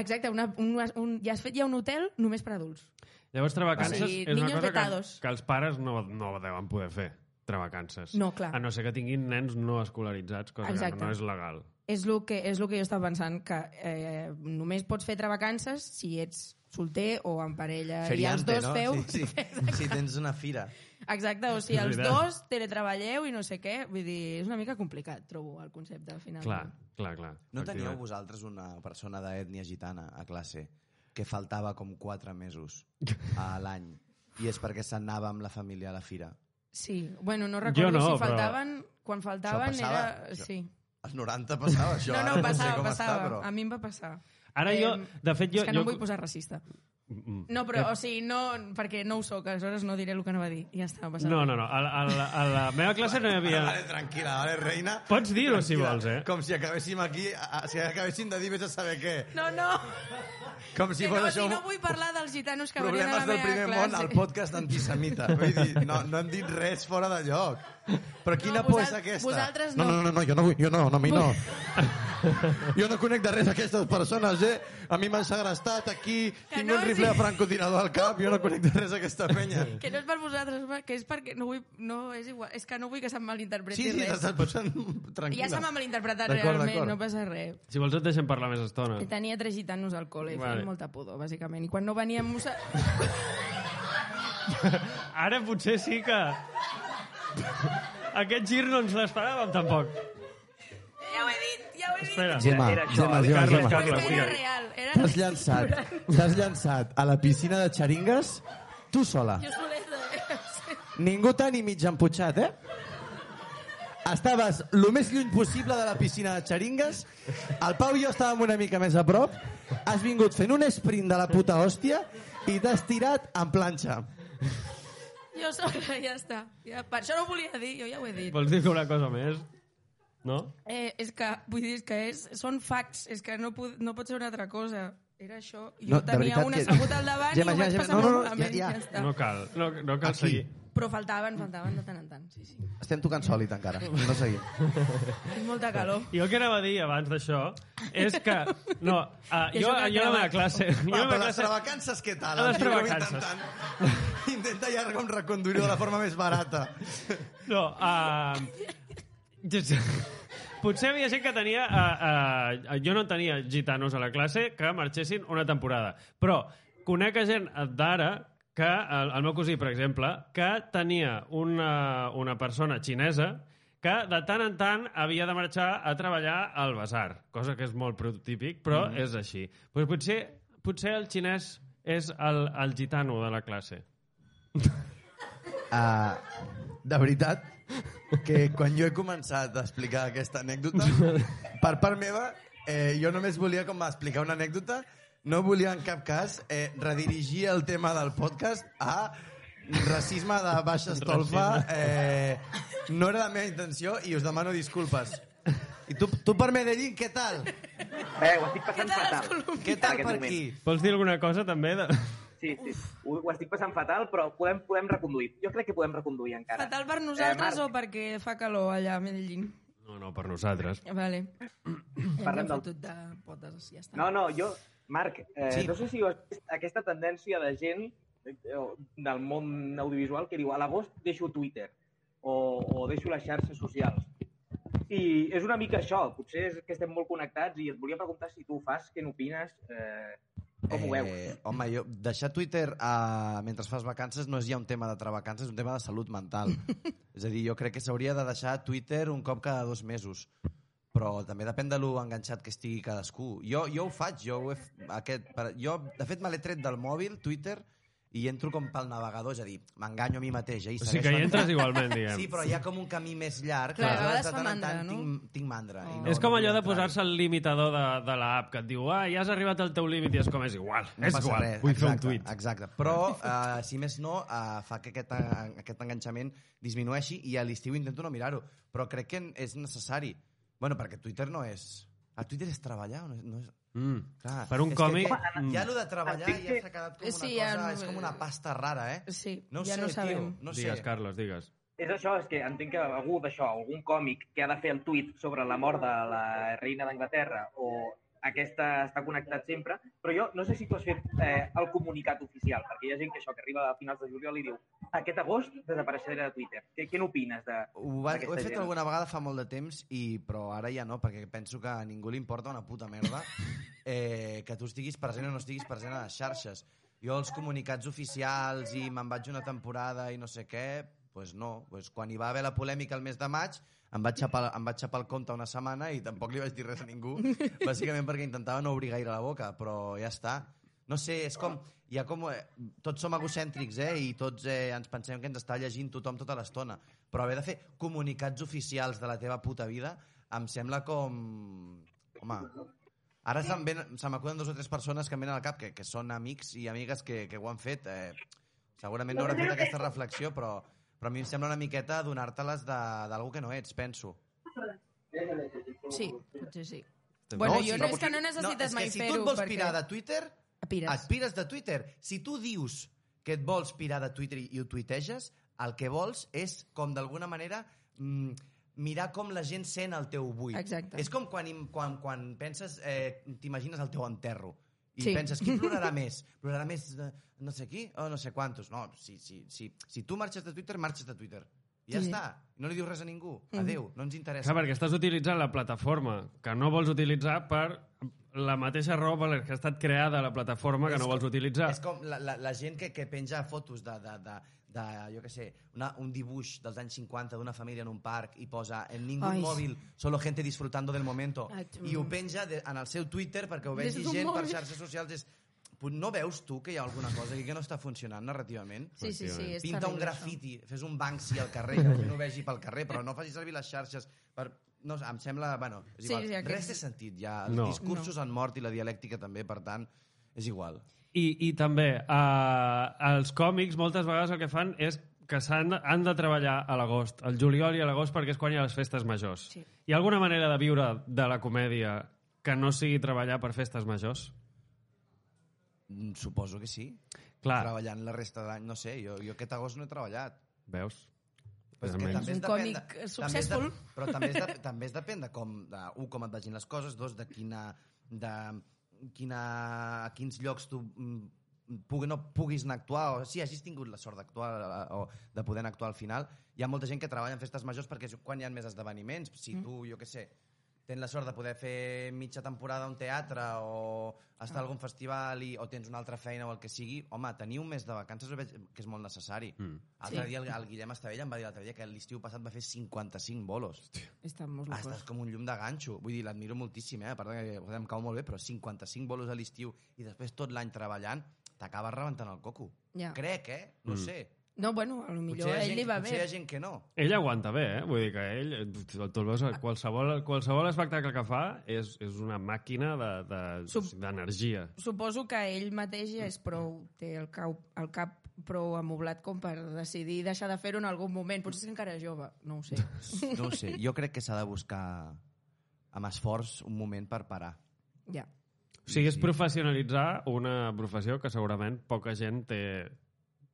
S3: Exacte, una, un, un, ja has fet ja un hotel només per adults.
S2: Llavors,
S3: O
S2: Travacances
S3: sigui,
S2: és una
S3: niños
S2: cosa que,
S3: vetados.
S2: que els pares no, no deuen poder fer, Travacances.
S3: No, clar.
S2: A Ah, no ser que tinguin nens no escolaritzats, cosa Exacte.
S3: Exacte.
S2: que no és legal.
S3: És el que, és el que jo estava pensant, que eh, només pots fer travacances si ets solter o en parella. I els dos
S4: no?
S3: feu...
S4: Sí, sí. si tens una fira.
S3: <laughs> Exacte, o sigui,
S2: És
S3: els
S2: veritat.
S3: dos teletreballeu i no sé què. Vull dir, és una mica complicat, trobo, el concepte, al final.
S2: Clar, clar, clar.
S4: No teníeu
S2: efectivament.
S4: vosaltres una persona d'ètnia gitana a classe que faltava com quatre mesos
S2: <laughs>
S4: a l'any i és perquè s'anava amb la família a la fira.
S3: Sí, bueno, no recordo
S2: no,
S3: si
S2: però-
S3: faltaven... Quan faltaven
S4: Això passava?
S3: era...
S4: Això-
S3: Sí.
S4: Als 90 passava això,
S3: no,
S4: ara
S3: no, passava,
S4: no sé com
S3: passava.
S4: està, però...
S3: A mi em va passar.
S2: Ara
S3: Eh,
S2: jo, de fet, jo...
S3: és que no
S2: jo...
S3: em vull posar racista.
S2: Mm, mm.
S3: No, però, o sigui, no, perquè no ho sóc, aleshores no diré el que no va dir. Ja està, no passa
S2: No,
S3: res.
S2: no, no. A, la- a, la, a la meva classe no hi havia...
S4: Vale, tranquil·la, vale, reina.
S2: Pots dir-ho, si
S4: Tranquil·la.
S2: vols, eh?
S4: Com si acabéssim aquí, a, a- si acabéssim de dir vés a saber què.
S3: No, no.
S4: Com si
S3: Sí,
S4: fos
S3: no,
S4: això...
S3: si
S4: un-
S3: no vull parlar dels gitanos que venien a la
S4: Problemes del
S3: meva
S4: primer
S3: classe.
S4: món al podcast antisemita. Vull dir, no, no hem dit res fora de lloc. Però quina por és
S3: vosal-
S4: aquesta?
S3: vosaltres no.
S4: No, no, no, jo no, vull- jo no, no, a mi no. <laughs> Jo no conec de res aquestes persones, eh? A mi m'han segrestat aquí,
S3: Que
S4: tinc
S3: no,
S4: un rifle
S3: sí.
S4: de francotirador al cap, jo no conec de res aquesta penya.
S3: Que no és per vosaltres, va, que és perquè no vull... No, és igual. És que no vull que se'm malinterpreti
S4: Sí, sí,
S3: res.
S4: t'estàs posant
S3: Ja
S4: tranquil·la.
S3: se m'ha malinterpretat
S4: D'acord,
S3: realment,
S4: d'acord.
S3: no passa res.
S2: Si vols et deixem parlar més estona.
S3: I tenia tres gitanos al col·le, vale.
S2: Vale.
S3: feien molta pudor, bàsicament. I quan no veníem... Musa...
S2: Ara potser sí que... Aquest gir no ens l'esperàvem, tampoc.
S3: Ja ho he dit, ja ho he dit.
S2: Espera.
S5: Gemma,
S4: Gemma,
S5: Era això,
S4: Gemma,
S5: Gemma,
S2: Gemma,
S4: Gemma,
S2: Carles, Gemma.
S4: Gemma.
S3: Però és que era
S2: digue'm.
S3: real. Era
S4: T'has llançat, t'has llançat a la piscina de xeringues tu sola.
S3: Jo soleta, eh?
S4: Ningú t'ha ni mig emputxat, eh? Estaves el més lluny possible de la piscina de xeringues, el Pau i jo estàvem una mica més a prop, has vingut fent un sprint de la puta hòstia i t'has tirat en planxa.
S3: Jo sola, ja està. Ja, per això no ho volia dir, jo ja ho he dit.
S2: Vols dir una cosa més? No?
S3: Eh, és que, vull dir, és que és, són facts, és que no, pod, no pot ser una altra cosa. Era això. Jo
S4: No, de
S3: tenia
S4: veritat
S3: un
S4: que-
S3: assegut al davant
S4: Gemma,
S3: i ho
S4: Gemma,
S3: vaig
S4: Gemma,
S3: passar
S4: no,
S3: molt
S4: no, no,
S3: malament.
S4: ja,
S3: Ja,
S4: ja.
S3: està.
S2: No cal, no, no cal
S4: Aquí.
S2: seguir.
S3: Però faltaven, faltaven de tant en tant. Sí, sí.
S4: Estem tocant sòlid encara, no seguim.
S3: És molta calor.
S2: Jo el que anava a dir abans d'això és que... No, uh,
S3: I això
S2: jo,
S3: que ha
S2: jo a la meva
S3: cremat.
S2: classe... Jo a la meva classe...
S4: vacances què tal?
S2: A les
S4: Jo acabo
S2: trabacances.
S4: intentant- <laughs> Intenta allargar un reconduir de la forma més barata.
S2: No, uh, potser havia gent que tenia... Uh, uh, jo no en tenia gitanos a la classe que marxessin una temporada. Però conec a gent d'ara que, el, el meu cosí, per exemple, que tenia una, una persona xinesa que de tant en tant havia de marxar a treballar al bazar, cosa que és molt prototípic, però mm. és així. Pues potser, potser el xinès és el, el gitano de la classe.
S4: Uh, de veritat que quan jo he començat a explicar aquesta anècdota, per part meva, eh, jo només volia com explicar una anècdota, no volia en cap cas eh, redirigir el tema del podcast a racisme de baixa estolfa. Eh, no era la meva intenció i us demano disculpes. I tu, tu per Medellín, què tal?
S5: Eh, ho estic passant fatal.
S4: Què
S5: en
S4: tal
S5: aquest
S4: per
S5: moment.
S4: aquí?
S2: Vols dir alguna cosa, també? De...
S5: Sí, sí. Ho, ho estic passant fatal, però podem, podem reconduir. Jo crec que podem reconduir encara.
S3: Fatal per nosaltres
S5: Eh,
S3: o perquè fa calor allà a Medellín?
S2: No, no, per nosaltres.
S3: Vale.
S5: Parlem
S3: ja
S5: del-
S3: m'he fotut de potes, ja està.
S5: No, no, jo... Marc, eh,
S4: Sí.
S5: sí. no sé si ho has vist, aquesta tendència de gent eh, del món audiovisual que diu a l'agost deixo Twitter o, o deixo les xarxes socials. I és una mica això, potser és que estem molt connectats i et volia preguntar si tu ho fas, què n'opines, eh, com ho veus.
S4: Eh, home, jo, deixar Twitter uh, mentre fas vacances no és ja un tema de travacances, és un tema de salut
S3: <laughs>
S4: mental. és a dir, jo crec que s'hauria de deixar Twitter un cop cada dos mesos. Però també depèn de lo enganxat que estigui cadascú. Jo, jo ho faig, jo ho he, f- aquest, per, jo, de fet, me l'he tret del mòbil, Twitter, i entro com pel navegador, és a dir, m'enganyo a mi mateix. Eh,
S2: O
S4: i
S2: sigui
S4: segueixo
S2: que hi
S4: entrant.
S2: entres igualment, diguem.
S4: Sí, però hi ha com un camí més llarg.
S3: Clar, a
S4: aleshores,
S3: vegades
S4: de
S3: fa
S4: tant en
S3: mandra,
S4: tant
S3: no?
S4: Tinc, tinc mandra. i
S3: Oh.
S2: és com
S4: vull
S2: allò de
S4: entrar-hi.
S2: posar-se al limitador de, de l'app, que et diu, ah, ja has arribat al teu límit, i és com, és igual,
S4: No
S2: és
S4: passa
S2: igual,
S4: res,
S2: vull fer
S4: exacte,
S2: un tuit.
S4: Exacte, però uh, si més no, uh, fa que aquest, en- aquest enganxament disminueixi i a l'estiu intento no mirar-ho, però crec que en- és necessari. bueno, perquè Twitter no és... A Twitter és treballar, no és... No és
S2: Mm.
S4: clar,
S2: Per un
S4: és
S2: còmic,
S4: Que, aquest-
S2: mm.
S4: ja lo de treballar
S5: Entenc
S4: ja
S5: que-
S4: s'ha quedat com una
S3: Sí,
S4: cosa...
S3: ja no-
S4: És com una pasta rara, eh?
S3: Sí,
S4: No ho
S3: ja
S4: sé,
S3: no ho sabem.
S4: tio, no ho
S2: digues,
S4: sé.
S2: Carles, digues.
S5: És això, és que entenc que algú d'això, algun còmic que ha de fer el tuit sobre la mort de la reina d'Anglaterra o aquesta està connectat sempre, però jo no sé si tu has fet eh, el comunicat oficial, perquè hi ha gent que això, que arriba a finals de juliol i diu aquest agost desapareixeré de Twitter. Què, què n'opines de...
S4: Ho, va, ho
S5: d'aquesta
S4: he fet
S5: gent.
S4: alguna vegada fa molt de temps, i però ara ja no, perquè penso que a ningú li importa una puta merda eh, que tu estiguis present o no estiguis present a les xarxes. Jo els comunicats oficials i me'n vaig una temporada i no sé què, pues no. Pues quan hi va haver la polèmica el mes de maig, em vaig, xapar, em vaig xapar el compte una setmana i tampoc li vaig dir res a ningú, bàsicament perquè intentava no obrir gaire la boca, però ja està. No sé, és com... Hi ha com eh, tots som egocèntrics, eh? I tots eh, ens pensem que ens està llegint tothom tota l'estona. Però haver de fer comunicats oficials de la teva puta vida em sembla com... Home, ara se'm ven- se m'acuden dos o tres persones que em venen al cap, que, que són amics i amigues que, que ho han fet. Eh, segurament no haurà fet aquesta reflexió, però, però a mi em sembla una miqueta donar-te-les de- d'algú que no ets, penso.
S3: Sí, potser sí.
S4: No,
S3: Bueno,
S4: sí,
S3: jo
S4: però
S3: no és que no
S4: vull dir-
S3: necessites
S4: és
S3: mai
S4: que si
S3: fer-ho.
S4: tu et vols
S3: perquè-
S4: pirar de Twitter,
S3: Et pires.
S4: Et pires de Twitter. Si tu dius que et vols pirar de Twitter i i ho tuiteges, el que vols és, com d'alguna manera, mm, mirar com la gent sent el teu buit.
S3: Exacte.
S4: És com quan, im- quan, quan penses, eh, t'imagines el teu enterro. I
S3: Sí.
S4: sí. penses, qui
S3: <laughs>
S4: plorarà més? Plorarà més eh, no sé qui o no sé quantos? No, si, si, si, si tu marxes de Twitter, marxes de Twitter. I ja
S3: Sí. Mm.
S4: sí. està. No li dius res a ningú. Adéu, no ens interessa.
S2: Clar, perquè estàs utilitzant la plataforma que no vols utilitzar per la mateixa raó per la que ha estat creada la plataforma que
S4: És
S2: no
S4: com-
S2: vols utilitzar.
S4: És com la, la, la gent que, que penja fotos de, de, de, de jo què sé, una, un dibuix dels anys 50 d'una família en un parc i posa en ningún
S3: Ai.
S4: mòbil, solo gente disfrutando del momento.
S3: Ai, tu.
S4: I ho penja de, en el seu Twitter perquè ho
S3: Des
S4: vegi
S3: d'un
S4: gent per
S3: mòbil.
S4: xarxes socials. És, pu- no veus tu que hi ha alguna cosa aquí que no està funcionant narrativament?
S3: Sí, sí, sí, és
S4: Pinta un
S3: terrible,
S4: grafiti, fes un Banksy al carrer, que la gent ho vegi pel carrer, però no facis servir les xarxes per... No, sé, em sembla... Bueno,
S3: Sí,
S4: és igual.
S3: sí, aquests-
S4: Res té sentit, ja. Els
S2: No.
S4: no. discursos no. han mort i la dialèctica també, per tant, és igual.
S2: I, i també, eh, els còmics moltes vegades el que fan és que s'han han de treballar a l'agost, al juliol i a l'agost, perquè és quan hi ha les festes majors.
S3: Sí.
S2: Hi ha alguna manera de viure de la comèdia que no sigui treballar per festes majors?
S4: Mm, Suposo que sí.
S2: Clar,
S4: Treballant la resta d'any, no sé, jo, jo aquest agost no he treballat.
S2: veus?
S4: Però és
S2: Realment.
S3: És un
S4: és depèn
S3: còmic
S4: també és
S3: successful.
S4: De, però també és, de, <laughs> també és depèn de com, de, un, com et vagin les coses, dos, de quina... De, quina a quins llocs tu mm, pugui, no puguis anar a actuar o si hagis tingut la sort d'actuar eh, o de poder anar a actuar al final hi ha molta gent que treballa en festes majors perquè és quan hi ha més esdeveniments si tu, jo què sé, tens la sort de poder fer mitja temporada a un teatre o estar a algun festival i, o tens una altra feina o el que sigui, home, tenir un mes de vacances ho veig que és molt necessari. Mm. L'altre
S3: Sí.
S4: sí. dia el, el Guillem Estavella em va dir l'altre dia que l'estiu passat va fer 55 bolos.
S3: Està molt
S4: Ah,
S3: locos.
S4: estàs com un llum de ganxo. Vull dir, l'admiro moltíssim, eh? A part de que joder, em cau molt bé, però 55 bolos a l'estiu i després tot l'any treballant, t'acabes rebentant el coco.
S3: Ja.
S4: Crec, eh? No mm. sé.
S3: No, bueno, a lo millor
S4: hi
S3: a
S4: ha
S3: ell
S4: gent,
S3: li va
S4: potser hi
S3: bé.
S4: ha gent que no.
S2: Ell aguanta bé, eh? Vull dir que ell, eh, tu el veus, a qualsevol, qualsevol espectacle que fa és, és una màquina de- de-
S3: Sup-
S2: d'energia. De,
S3: Suposo que ell mateix
S4: Mm.
S3: ja és prou, té el cap, el cap prou amoblat com per decidir deixar de fer-ho en algun moment. Potser és que encara és jove, no
S4: <laughs>
S3: ho sé.
S4: No ho sé. Jo crec que s'ha de buscar amb esforç un moment per parar.
S3: Ja.
S2: O sigui, és professionalitzar una professió que segurament poca gent té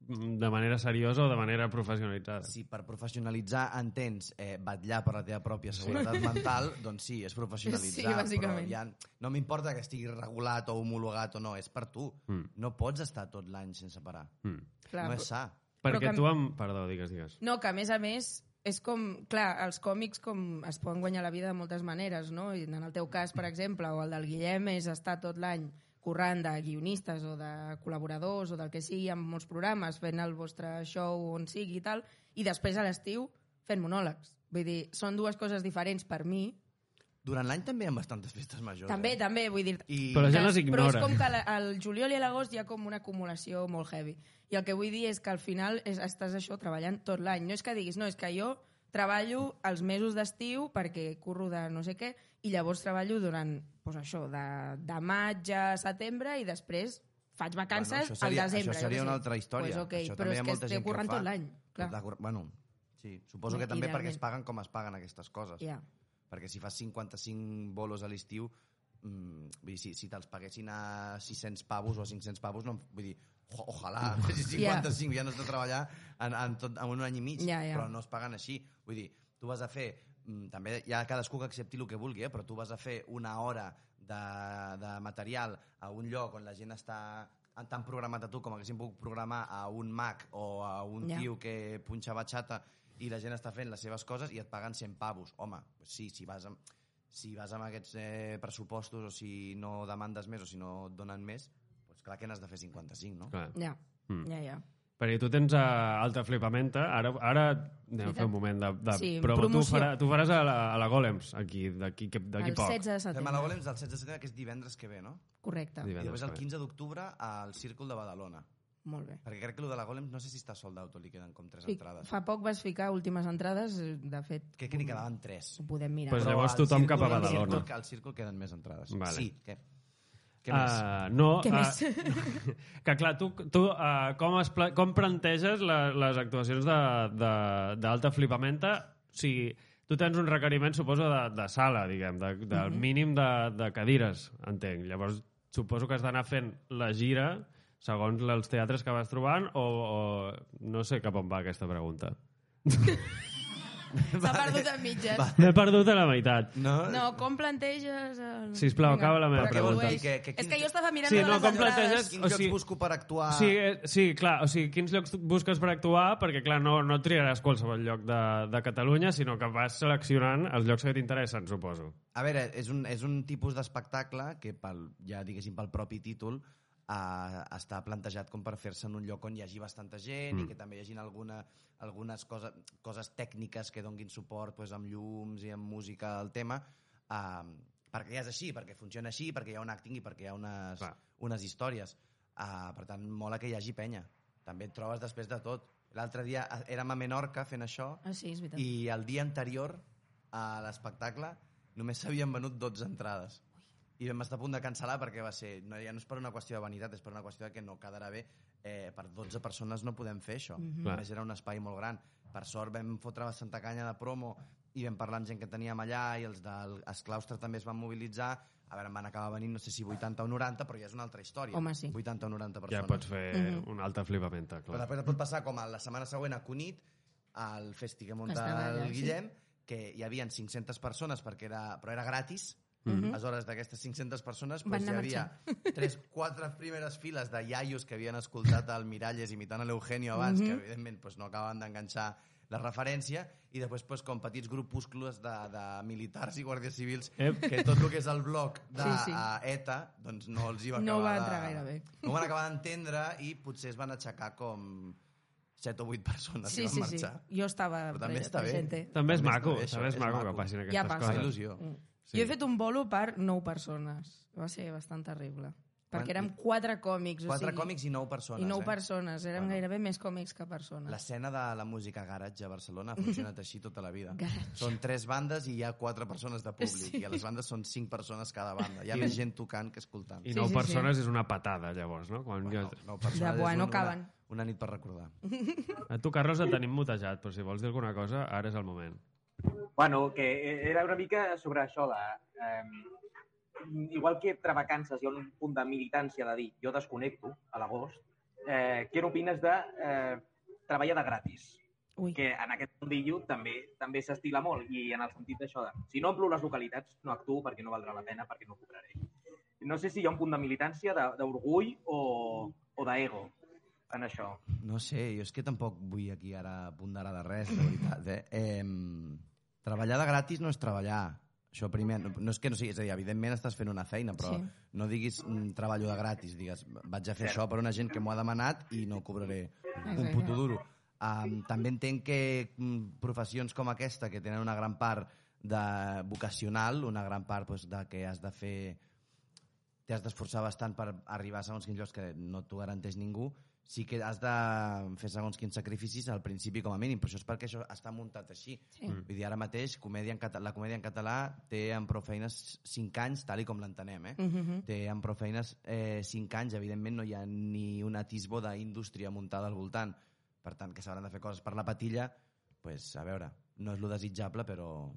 S2: mm, de manera seriosa o de manera professionalitzada.
S4: Si per professionalitzar entens eh, batllar per la teva pròpia
S3: <laughs>
S4: seguretat mental, doncs sí, és professionalitzar.
S3: Sí, bàsicament.
S4: Però ja, no m'importa que estigui regulat o homologat o no, és per tu.
S2: Mm.
S4: No pots estar tot l'any sense parar.
S2: Mm.
S3: Clar,
S4: no
S3: però-
S4: és sa.
S3: Però
S2: Perquè
S3: que-
S2: tu amb... Perdó, digues, digues.
S3: No, que a més a més és com, clar, els còmics com es poden guanyar la vida de moltes maneres, no? I en el teu cas, per exemple, o el del Guillem és estar tot l'any currant de guionistes o de col·laboradors o del que sigui amb molts programes, fent el vostre show on sigui i tal, i després a l'estiu fent monòlegs. Vull dir, són dues coses diferents per mi,
S4: durant l'any també hi ha bastantes festes majors.
S3: També,
S4: eh?
S3: també, vull dir...
S4: I...
S2: Però la gent les
S3: Però és
S2: ignora.
S3: com que la- al juliol i a l'agost hi ha com una acumulació molt heavy. I el que vull dir és que al final és, estàs això treballant tot l'any. No és que diguis, no, és que jo treballo els mesos d'estiu perquè curro de no sé què i llavors treballo durant pues, això, de, de maig a setembre i després faig vacances
S4: això
S3: bueno,
S4: seria-
S3: al desembre.
S4: això
S3: jo
S4: seria
S3: què sé.
S4: una altra història.
S3: Pues, okay,
S4: Això també
S3: però
S4: hi ha
S3: és que
S4: molta gent
S3: estic
S4: que ho
S3: currant
S4: fa.
S3: tot l'any. Clar.
S4: La, bueno, sí, suposo que també
S3: Idealment.
S4: perquè es paguen com es paguen aquestes coses.
S3: Ja.
S4: Perquè si fas 55 bolos a l'estiu, mm, vull dir, si, si te'ls paguessin a 600 pavos o a 500 pavos, no, em- vull dir, o- ojalà, si 55 ja no has de treballar en, en, tot, en un any i mig,
S3: Ja, ja.
S4: però no es paguen així. Vull dir, tu vas a fer, mm, també hi ha cadascú que accepti el que vulgui, eh, però tu vas a fer una hora de, de material a un lloc on la gent està tan programat a tu com haguessin pogut programar a un Mac o a un
S3: Ja.
S4: tio que punxa batxata i la gent està fent les seves coses i et paguen 100 pavos. Home, pues sí, si vas amb, si vas amb aquests eh, pressupostos o si no demandes més o si no et donen més, pues clar que n'has de fer 55, no?
S2: Clar.
S3: Ja,
S2: Mm.
S3: ja, ja.
S2: Perquè tu tens uh, alta flipamenta, ara, ara anem a fer un moment de, de
S3: Sí,
S2: promo. Tu,
S3: promoció.
S2: farà, tu faràs a la, a la Golems, aquí, d'aquí que- d'aquí
S3: El
S2: poc.
S3: 16 de
S4: Fem a
S3: setembre.
S4: la Golems del 16 de setembre, que és divendres que ve, no?
S3: Correcte.
S4: I
S2: Divendres
S4: després el
S2: que ve.
S4: 15 d'octubre al Círcul de Badalona.
S3: Molt bé.
S4: Perquè crec que el de la Golems no sé si està sold out o li queden com tres
S3: Sí,
S4: entrades.
S3: Fa poc vas ficar últimes entrades, eh, de fet...
S4: Crec que n'hi quedaven tres.
S3: Ho podem mirar.
S2: Pues
S4: Però
S2: llavors
S4: al
S2: tothom
S4: Círcul-
S2: cap a
S4: al
S2: Badalona.
S4: Círcul- Al Círcul queden més entrades.
S2: Vale.
S4: Sí, què? Què més?
S2: Uh, no,
S3: Què
S2: uh,
S3: més?
S2: <laughs> que clar, tu, tu uh, com, es pla com planteges la, les actuacions de- de- d'alta flipamenta? O sigui, tu tens un requeriment, suposo, de, de sala, diguem, de, del
S3: Mhm.
S2: mínim de, de cadires, entenc. Llavors, suposo que has d'anar fent la gira segons els teatres que vas trobant o, o no sé cap on va aquesta pregunta.
S3: S'ha perdut en mitges.
S4: Va.
S2: M'he perdut a la meitat.
S4: No,
S3: No, com planteges... El...
S2: Sisplau, acaba la meva
S4: Però què
S2: pregunta.
S4: vols dir? Que- que
S3: És
S4: quin-
S3: que jo estava mirant
S2: Sí,
S3: totes
S2: no,
S3: les
S2: com
S3: entrades.
S2: planteges-
S4: Quins
S2: o
S4: llocs
S2: sigui-
S4: busco per actuar?
S2: Sí, eh, sí, clar, o sigui, quins llocs busques per actuar? Perquè, clar, no, no triaràs qualsevol lloc de, de Catalunya, sinó que vas seleccionant els llocs que t'interessen, suposo.
S4: A veure, és un, és un tipus d'espectacle que, pel, ja diguéssim, pel propi títol, eh, està plantejat com per fer-se en un lloc on hi hagi bastanta gent i que també hi hagin alguna, algunes cosa, coses tècniques que donguin suport pues, amb llums i amb música al tema, eh, perquè ja és així, perquè funciona així, perquè hi ha un acting i perquè hi ha unes,
S2: Clar.
S4: unes històries. Eh, per tant, mola que hi hagi penya. També et trobes després de tot. L'altre dia eh, érem a Menorca fent això
S3: Ah, sí, és veritat.
S4: i el dia anterior a l'espectacle només s'havien venut 12 entrades. I vam estar a punt de cancel·lar perquè va ser... No, ja no és per una qüestió de vanitat, és per una qüestió de que no quedarà bé. Eh, per 12 persones no podem fer això.
S3: Mhm.
S4: Mm
S2: Clar.
S4: -hmm. Més era un espai molt gran. Per sort vam fotre bastanta canya de promo i vam parlar amb gent que teníem allà i els del els claustre també es van mobilitzar. A veure, en van acabar venint, no sé si 80 o 90, però ja és una altra història.
S3: Home, sí.
S4: 80 o 90 persones.
S2: Ja pots fer
S3: Mhm.
S2: una alta flipamenta,
S4: Però
S2: clar.
S4: després et pot passar com a la setmana següent a Cunit, al festi que munta
S3: estava allà,
S4: el
S3: sí.
S4: Guillem, que hi havia 500 persones, perquè era, però era gratis, aleshores d'aquestes 500 persones
S3: Mhm. Van
S4: doncs, hi
S3: anar
S4: havia tres, quatre primeres files de iaios que havien escoltat el Miralles imitant a l'Eugenio abans,
S3: Mhm.
S4: que evidentment doncs, no acaben d'enganxar la referència, i després doncs, com petits grupúscules de, de militars i guàrdies civils,
S2: Ep.
S4: que tot el que és el bloc de
S3: Sí, sí.
S4: eh, ETA doncs no els hi va
S3: No
S4: acabar
S3: va entrar
S4: de-
S3: gaire bé.
S4: No van acabar d'entendre i potser es van aixecar com 7 o 8 persones
S3: Sí,
S4: que van
S3: sí, sí.
S4: marxar.
S3: Jo estava
S4: Però també
S3: pre-
S4: està bé.
S3: presente.
S2: També és
S4: També està
S2: maco,
S4: bé, això,
S2: també és
S4: és
S2: maco que
S4: maco.
S2: passin
S3: Ja
S2: aquestes
S3: passa.
S4: Fa
S3: Clar.
S2: coses.
S4: il·lusió.
S3: Mm.
S2: Sí.
S3: Jo he fet un bolo per 9 persones. Va ser bastant terrible. Perquè érem quatre còmics.
S4: Quatre
S3: o sigui,
S4: còmics i nou persones.
S3: I 9
S4: eh?
S3: persones. Érem
S4: Bueno.
S3: gairebé més còmics que persones.
S4: L'escena de la música garage a Barcelona ha funcionat així tota la vida.
S3: Garage.
S4: Són tres bandes i hi ha quatre persones de públic.
S3: Sí.
S4: I a les bandes són cinc persones cada banda. Hi ha més gent tocant que escoltant.
S2: I
S3: Sí,
S2: nou
S3: sí, sí.
S2: persones és una patada, llavors, no? Quan
S4: Bueno,
S2: ja-
S4: nou persones
S3: buah,
S4: és
S3: eh, no
S4: un-
S3: caben.
S4: Una, una nit per recordar.
S2: A tu, Carlos, et tenim mutejat, però si vols dir alguna cosa, ara és el moment.
S5: Bueno, que era una mica sobre això de... Eh, igual que entre vacances hi ha un punt de militància de dir jo desconnecto a l'agost, eh, què n'opines de eh, treballar de gratis?
S3: Ui.
S5: Que en aquest mundillo també també s'estila molt i en el sentit d'això de si no omplo les localitats no actuo perquè no valdrà la pena, perquè no cobraré. No sé si hi ha un punt de militància, de- d'orgull o, o d'ego en això.
S4: No sé, jo és que tampoc vull aquí ara ponderar de res, de veritat. Eh? Eh, treballar de gratis no és treballar. Això primer, no, no és que no sigui, és a dir, evidentment estàs fent una feina, però
S3: Sí.
S4: sí. no diguis mm, treballo de gratis, digues, vaig a fer això per una gent que m'ho ha demanat i no cobraré un
S3: Exacte.
S4: puto duro. Um, també entenc que mm, professions com aquesta, que tenen una gran part de vocacional, una gran part doncs, de que has de fer... T'has d'esforçar bastant per arribar a segons quins llocs que no t'ho garanteix ningú, sí que has de fer segons quins sacrificis al principi com a mínim, però això és perquè això està muntat així.
S3: Sí. Mm.
S4: Vull dir, ara mateix comèdia en català, la comèdia en català té en prou feines 5 anys, tal i com l'entenem, eh?
S3: Mhm.
S4: té amb prou feines eh, 5 anys, evidentment no hi ha ni un atisbo d'indústria muntada al voltant. Per tant, que s'hauran de fer coses per la patilla, pues, a veure, no és lo desitjable, però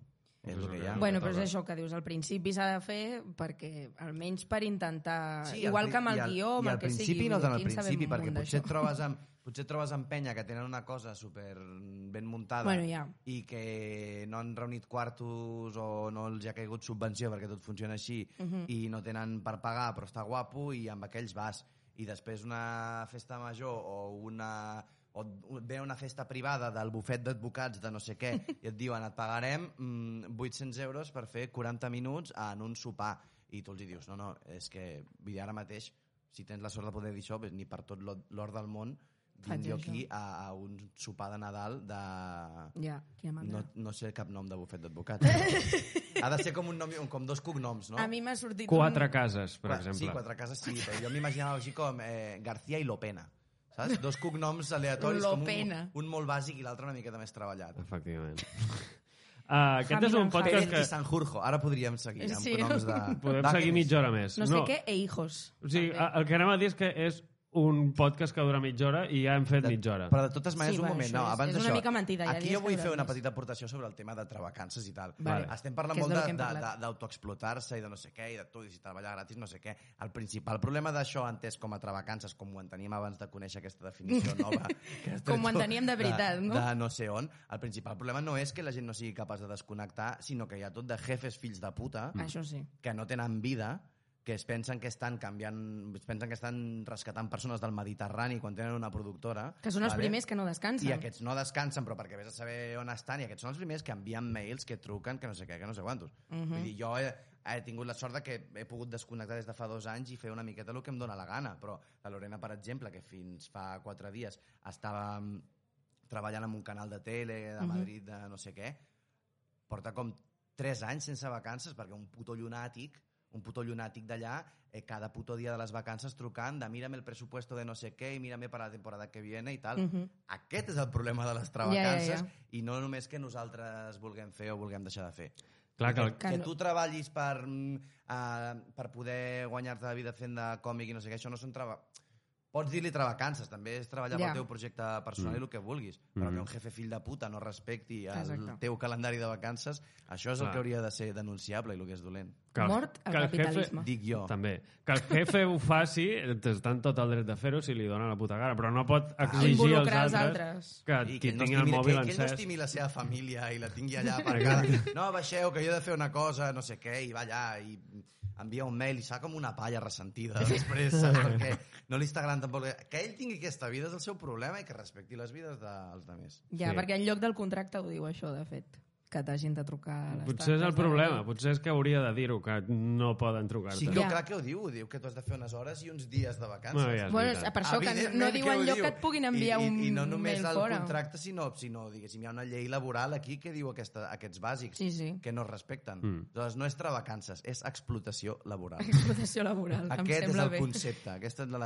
S4: és el que hi ha.
S3: Bueno, però és això que dius, al principi s'ha de fer perquè, almenys per intentar...
S4: Sí,
S3: Igual
S4: al
S3: que amb
S4: pri-
S3: el
S4: i al-
S3: guió, amb
S4: i
S3: el
S4: al
S3: que
S4: principi
S3: sigui.
S4: no tant al
S3: aquí en sabem
S4: principi,
S3: un
S4: perquè
S3: munt
S4: potser
S3: d'això.
S4: et trobes amb potser et trobes amb penya que tenen una cosa super ben muntada
S3: Bueno, ja.
S4: i que no han reunit quartos o no els hi ha caigut subvenció perquè tot funciona així
S3: Mhm.
S4: i no tenen per pagar però està guapo i amb aquells vas i després una festa major o una o et ve una festa privada del bufet d'advocats de no sé què
S3: <laughs>
S4: i et diuen et pagarem mm, 800 euros per fer 40 minuts en un sopar i tu els hi dius no, no, és que vull dir, ara mateix si tens la sort de poder dir això pues, ni per tot l'or l'or del món
S3: Faig
S4: vinc jo aquí
S3: això.
S4: a, a un sopar de Nadal de,
S3: Ja, quina mandra.
S4: no, no sé cap nom de bufet d'advocats.
S3: <laughs>
S4: però ha de ser com un nom, i un- com dos cognoms, no?
S3: A mi m'ha sortit...
S2: Quatre cases, per
S4: Qua-
S2: exemple.
S4: Sí, quatre cases sí, però jo m'imaginava així com eh, García i Lopena. Saps? Dos cognoms aleatoris,
S3: Lopena.
S4: com un, un molt bàsic i l'altre una miqueta més treballat.
S2: Efectivament. <laughs> Uh, aquest és un
S3: Hamilton
S4: Pérez
S2: podcast
S4: que...
S2: que
S4: i Sanjurjo. Ara podríem seguir amb
S3: Sí.
S4: cognoms de...
S2: podem
S4: Va,
S2: seguir
S4: que-
S2: mitja hora més.
S3: No sé què, e hijos.
S2: O sigui,
S3: també.
S2: a- el que anem a dir és que és un podcast que dura mitja hora i ja hem fet
S4: De-
S2: mitja hora.
S4: Però de totes maneres,
S3: Sí,
S4: un
S3: va,
S4: moment,
S3: això
S4: no,
S3: és-
S4: abans
S3: és una
S4: d'això,
S3: mica mentida, ja
S4: aquí
S3: dies
S4: jo vull
S3: que
S4: fer una
S3: durem.
S4: petita aportació sobre el tema de trabacances i tal.
S2: Vale.
S4: Estem
S3: Que
S4: parlant
S3: és
S4: molt
S3: del
S4: de-
S3: que hem
S4: de- de-
S3: parlat.
S4: d'autoexplotar-se i de no sé què, i de tu, i si treballar gratis, no sé què. El principal problema d'això, entès com a trabacances, com ho enteníem abans de conèixer aquesta
S3: <laughs>
S4: definició nova... Que has
S3: Com ho
S4: tret tu
S3: enteníem de veritat, no?
S4: De no sé on. El principal problema no és que la gent no sigui capaç de desconnectar, sinó que hi ha tot de jefes fills de puta
S3: Això sí.
S4: que no tenen vida, que es pensen que estan canviant, es pensen que estan rescatant persones del Mediterrani quan tenen una productora.
S3: Que són els primers que no descansen.
S4: I aquests no descansen, però perquè vés a saber on estan, i aquests són els primers que envien mails, que truquen, que no sé què, que no sé quantos.
S3: Mhm.
S4: Vull dir, jo he, he tingut la sort de que he pogut desconnectar des de fa dos anys i fer una miqueta el que em dóna la gana, però la Lorena, per exemple, que fins fa quatre dies estava mm, treballant en un canal de tele de
S3: Mhm.
S4: Madrid, de no sé què, porta com tres anys sense vacances perquè un puto llunàtic un puto llunàtic d'allà, eh, cada puto dia de les vacances trucant de mírame el presupuesto de no sé què i mírame para la temporada que viene i tal.
S3: Mhm.
S4: Aquest és el problema de les travacances ja, ja, ja. i no només que nosaltres vulguem fer o vulguem deixar de fer.
S2: Clar que el...
S4: Que,
S3: no-
S4: tu treballis per, uh, per poder guanyar-te la vida fent de còmic i no sé què, això no són trava... Pots dir-li travacances, també és treballar
S3: Ja.
S4: pel teu projecte personal mm. i el que vulguis, però
S2: Mhm.
S4: que un jefe fill de puta no respecti el
S3: Exacte.
S4: teu calendari de vacances, això és el
S2: Clar.
S4: que hauria de ser denunciable i el que és dolent.
S2: que el-
S3: Mort al
S2: que el jefe-
S3: capitalisme.
S4: Dic jo.
S2: També. Que el jefe ho faci, està en tot el dret de fer-ho si li dona la puta cara, però no pot exigir als
S3: Involucrar els
S2: altres,
S3: altres.
S2: que,
S4: Ah. I
S2: que
S4: ell
S2: tinguin el
S4: estimi-
S2: mòbil
S4: que, que ell no
S2: encès.
S4: estimi la seva família i la tingui allà
S2: <laughs>
S4: aparcada. No, baixeu, que jo he de fer una cosa, no sé què, i va allà i envia un mail i s'ha com una palla ressentida després, saps? Perquè no li està agradant tampoc. Que ell tingui aquesta vida és el seu problema i que respecti les vides dels altres.
S3: Ja,
S2: Sí.
S3: perquè en lloc del contracte ho diu això, de fet. Que t'hagin de trucar... a les
S2: Potser és el
S3: tantes de la
S2: problema,
S3: nit.
S2: potser és que hauria de dir-ho, que no poden trucar-te.
S4: Sí que
S3: Ja.
S4: clar que ho diu, ho diu que tu has de fer unes hores i uns dies de vacances.
S2: Bueno, ja és
S3: Bueno,
S2: veritat.
S3: és per això que no- no
S4: Evidentment
S3: diuen
S4: ho
S3: lloc
S4: diu.
S3: que et puguin enviar
S4: I, i,
S3: un
S4: I no només
S3: mail
S4: el
S3: fora.
S4: contracte, sinó, sinó diguéssim, hi ha una llei laboral aquí que diu aquesta, aquests bàsics
S3: Sí, sí.
S4: que no es respecten.
S2: Mm.
S4: Mm. Aleshores, no és vacances, és explotació
S3: <laughs>
S4: laboral.
S3: Explotació laboral, em
S4: Aquest és
S3: sembla
S4: el
S3: bé.
S4: concepte, aquesta és la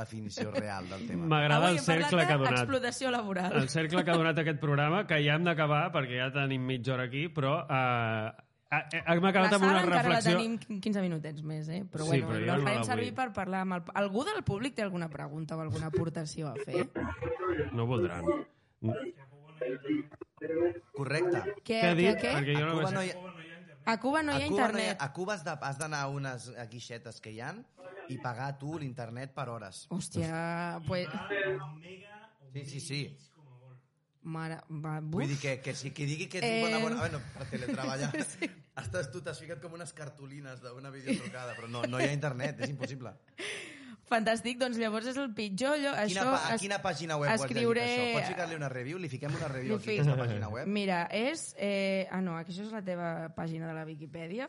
S3: <laughs>
S4: definició real del tema.
S2: M'agrada
S3: Avui
S2: el
S3: hem
S2: cercle
S3: parlat
S2: que ha donat.
S3: d'explotació laboral.
S2: El cercle que ha donat aquest programa, que ja hem d'acabar, perquè ja tenim mitja hora aquí, però eh, eh, hem
S3: La
S2: acabat
S3: sala
S2: amb una
S3: encara la
S2: reflexió...
S3: tenim 15 minutets més, eh? Però
S2: Sí,
S3: bueno,
S2: però jo
S3: la
S2: no la
S3: farem
S2: vull.
S3: servir per parlar amb el... Algú del públic té alguna pregunta o alguna aportació a fer?
S2: No voldran.
S4: Correcte.
S3: Què,
S2: Què ha
S3: què,
S2: dit?
S3: què?
S2: Perquè jo
S4: a
S2: no
S4: Cuba,
S2: ho
S4: no
S2: sé.
S4: hi ha,
S3: A Cuba no
S4: a
S3: hi ha
S4: Cuba no hi ha,
S3: internet.
S4: a Cuba has, de, has d'anar a unes guixetes que hi han i pagar tu l'internet per hores.
S3: Hòstia, pues...
S4: Sí, sí, sí.
S3: Mare... Va, buf.
S4: Vull dir que, que si qui digui que ets
S3: Eh.
S4: eh... bona bona... Bueno, per
S3: <laughs>
S4: teletreballar. sí. Estàs tu, t'has ficat com unes cartolines d'una videotrucada, però no, no hi ha internet, és impossible.
S3: Fantàstic, doncs llavors és el pitjor. Allò,
S4: Quina,
S3: això
S4: pa, a
S3: es-
S4: quina pàgina web
S3: escriuré-
S4: ho has llegit, això? Pots ficar-li una review? Li fiquem una
S3: Li
S4: review aquí,
S3: fic-
S4: a aquesta pàgina web?
S3: Mira, és... Eh, ah, no, això és la teva pàgina de la Viquipèdia.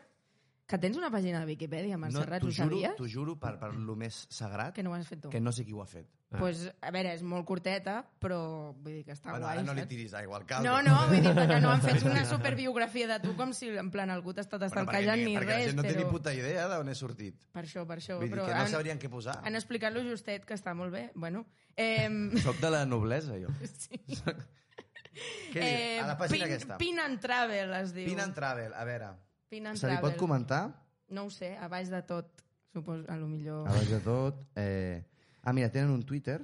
S3: Que tens una pàgina de Viquipèdia, Montserrat,
S4: t'ho
S3: ho
S4: juro,
S3: sabies?
S4: t'ho juro per, per lo més sagrat
S3: Que no ho has fet tu.
S4: que no sé qui ho ha fet.
S3: Ah. Pues, a veure, és molt curteta, però vull dir que està
S4: Bueno,
S3: guai.
S4: ara no li
S3: saps?
S4: tiris aigua al caldo.
S3: No, no, vull dir que no han
S4: <laughs>
S3: fet una superbiografia de tu com si en plan algú t'ha estat
S4: Bueno, perquè
S3: estalcallant ni
S4: perquè la
S3: res,
S4: gent no té
S3: però...
S4: ni puta idea d'on he sortit.
S3: Per això, per això.
S4: Vull dir
S3: però
S4: que no
S3: han-
S4: sabrien què posar.
S3: Han explicat-lo justet, que està molt bé. Bueno, eh,
S4: Soc de la noblesa, jo.
S3: <laughs> sí.
S4: <laughs> Què diu? A la pàgina
S3: Pin,
S4: aquesta.
S3: Pin and Travel es diu.
S4: Pin and Travel, a veure.
S3: Pin and
S4: Se li pot
S3: Travel.
S4: comentar?
S3: No ho sé, a baix de tot. Suposo, a lo millor...
S4: Abans de tot... Eh... Ah, mira, tenen un Twitter.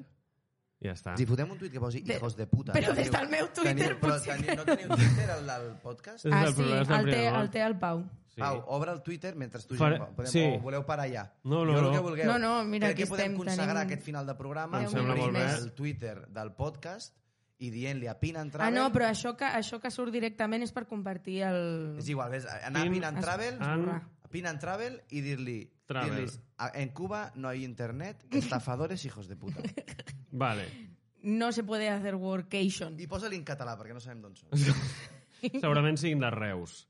S2: Ja està.
S4: Si fotem un tuit que posi
S3: De-
S4: hijos de puta.
S3: però
S4: teniu-
S3: des del meu Twitter
S4: teniu, però
S3: potser
S4: teniu,
S3: que-
S4: No teniu Twitter al, al podcast?
S2: És
S3: Ah,
S2: el
S3: sí,
S2: problema, és el
S3: el té,
S2: primer
S3: el té el Pau. Ah,
S2: Sí.
S4: Sí. Pau, obre el Twitter mentre tu
S2: Faré-
S4: ja podem,
S2: sí.
S4: o voleu parar allà.
S2: No, no,
S4: jo
S2: no.
S4: El que vulgueu.
S3: No, no, mira,
S4: Crec
S3: aquí
S4: que podem
S3: estem,
S4: consagrar
S3: tenim-
S4: aquest final de programa
S3: Em
S4: amb
S3: sembla
S4: obrir
S3: molt bé.
S4: el Twitter del podcast i dient-li a Pin and
S3: Ah,
S4: Travel...
S3: no, però això que, això que surt directament és per compartir el...
S4: És igual, ves, anar
S2: Pin-
S4: a Pin and Travel,
S2: An-
S4: a Pin and Travel i dir-li...
S2: Travel.
S4: dir-lis, "A- en Cuba no hay internet, estafadores hijos
S3: <laughs>
S4: de puta.
S2: Vale.
S3: No se puede hacer workation.
S4: I posa-li en català, perquè no sabem d'on som.
S2: Segurament siguin de Reus.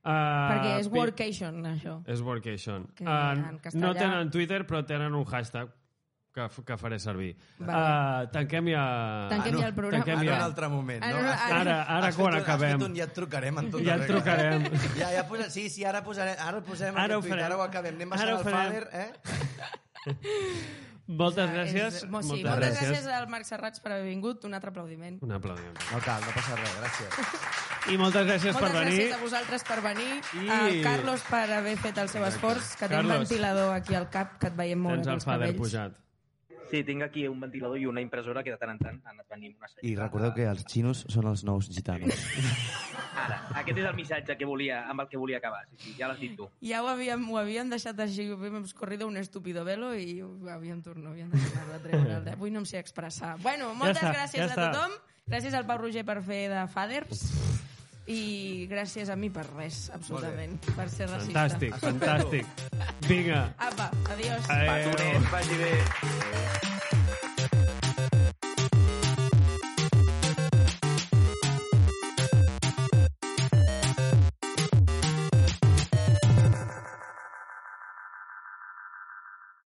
S2: Uh,
S3: Perquè és workation, això.
S2: És Workation.
S3: Que en
S2: Uh,
S3: castellà-
S2: no tenen Twitter, però tenen un hashtag que, f- que faré servir.
S3: Vale.
S2: Uh, tanquem ja...
S3: Tanquem
S4: Ah, no.
S3: ja el programa.
S2: Tanquem
S4: Ara
S2: ja.
S4: un altre moment,
S3: Ara
S4: no?
S3: no,
S4: Has-
S2: Ara, ara
S4: has
S2: quan
S4: fet un- Has
S2: acabem.
S4: fet un ja et trucarem en tota
S2: Ja et
S4: regla.
S2: trucarem.
S4: <laughs> Ja, ja posa, sí, sí, ara, posarem, ara posarem
S2: Ara
S4: ara
S2: ho
S4: aquest tuit,
S2: farem.
S4: ara ho acabem. Anem
S2: Ara
S4: baixant
S2: ho
S4: el
S2: farem.
S4: Fader, eh?
S2: Moltes
S3: Ah,
S2: gràcies.
S3: És, mo, sí, moltes,
S4: gràcies.
S3: moltes gràcies al Marc Serrats per haver vingut. Un altre aplaudiment.
S2: Un aplaudiment.
S4: No cal, no passa res, gràcies.
S2: I moltes gràcies
S3: moltes
S2: per venir.
S3: gràcies a vosaltres per venir,
S2: I-
S3: a Carlos per haver fet el seu esforç, que té un
S2: Carlos.
S3: ventilador aquí al cap, que et veiem molt
S2: Tens
S3: bé
S2: el
S3: pels
S2: fader
S3: cabells.
S2: pujat.
S5: Sí, tinc aquí un ventilador i una impressora que de tant en tant han anat venint una sèrie.
S4: I recordeu que els xinos són els nous gitanos.
S5: Ara, aquest és el missatge que volia, amb el que volia acabar. Sí, sí, ja l'has dit tu.
S3: Ja ho havíem, ho havíem deixat així, ho havíem corrido un estúpido velo i ho havíem tornat, havíem de treure el... Avui no em sé expressar. Bueno, moltes
S2: està,
S3: gràcies
S2: ja
S3: a
S2: està.
S3: tothom. Gràcies al Pau Roger per fer de faders i gràcies a mi per res, absolutament, per ser racista.
S2: Fantàstic, fantàstic. Vinga. eh,
S3: Apa, adiós.
S2: Adéu.
S5: Patonet, vagi bé.
S4: Adéu.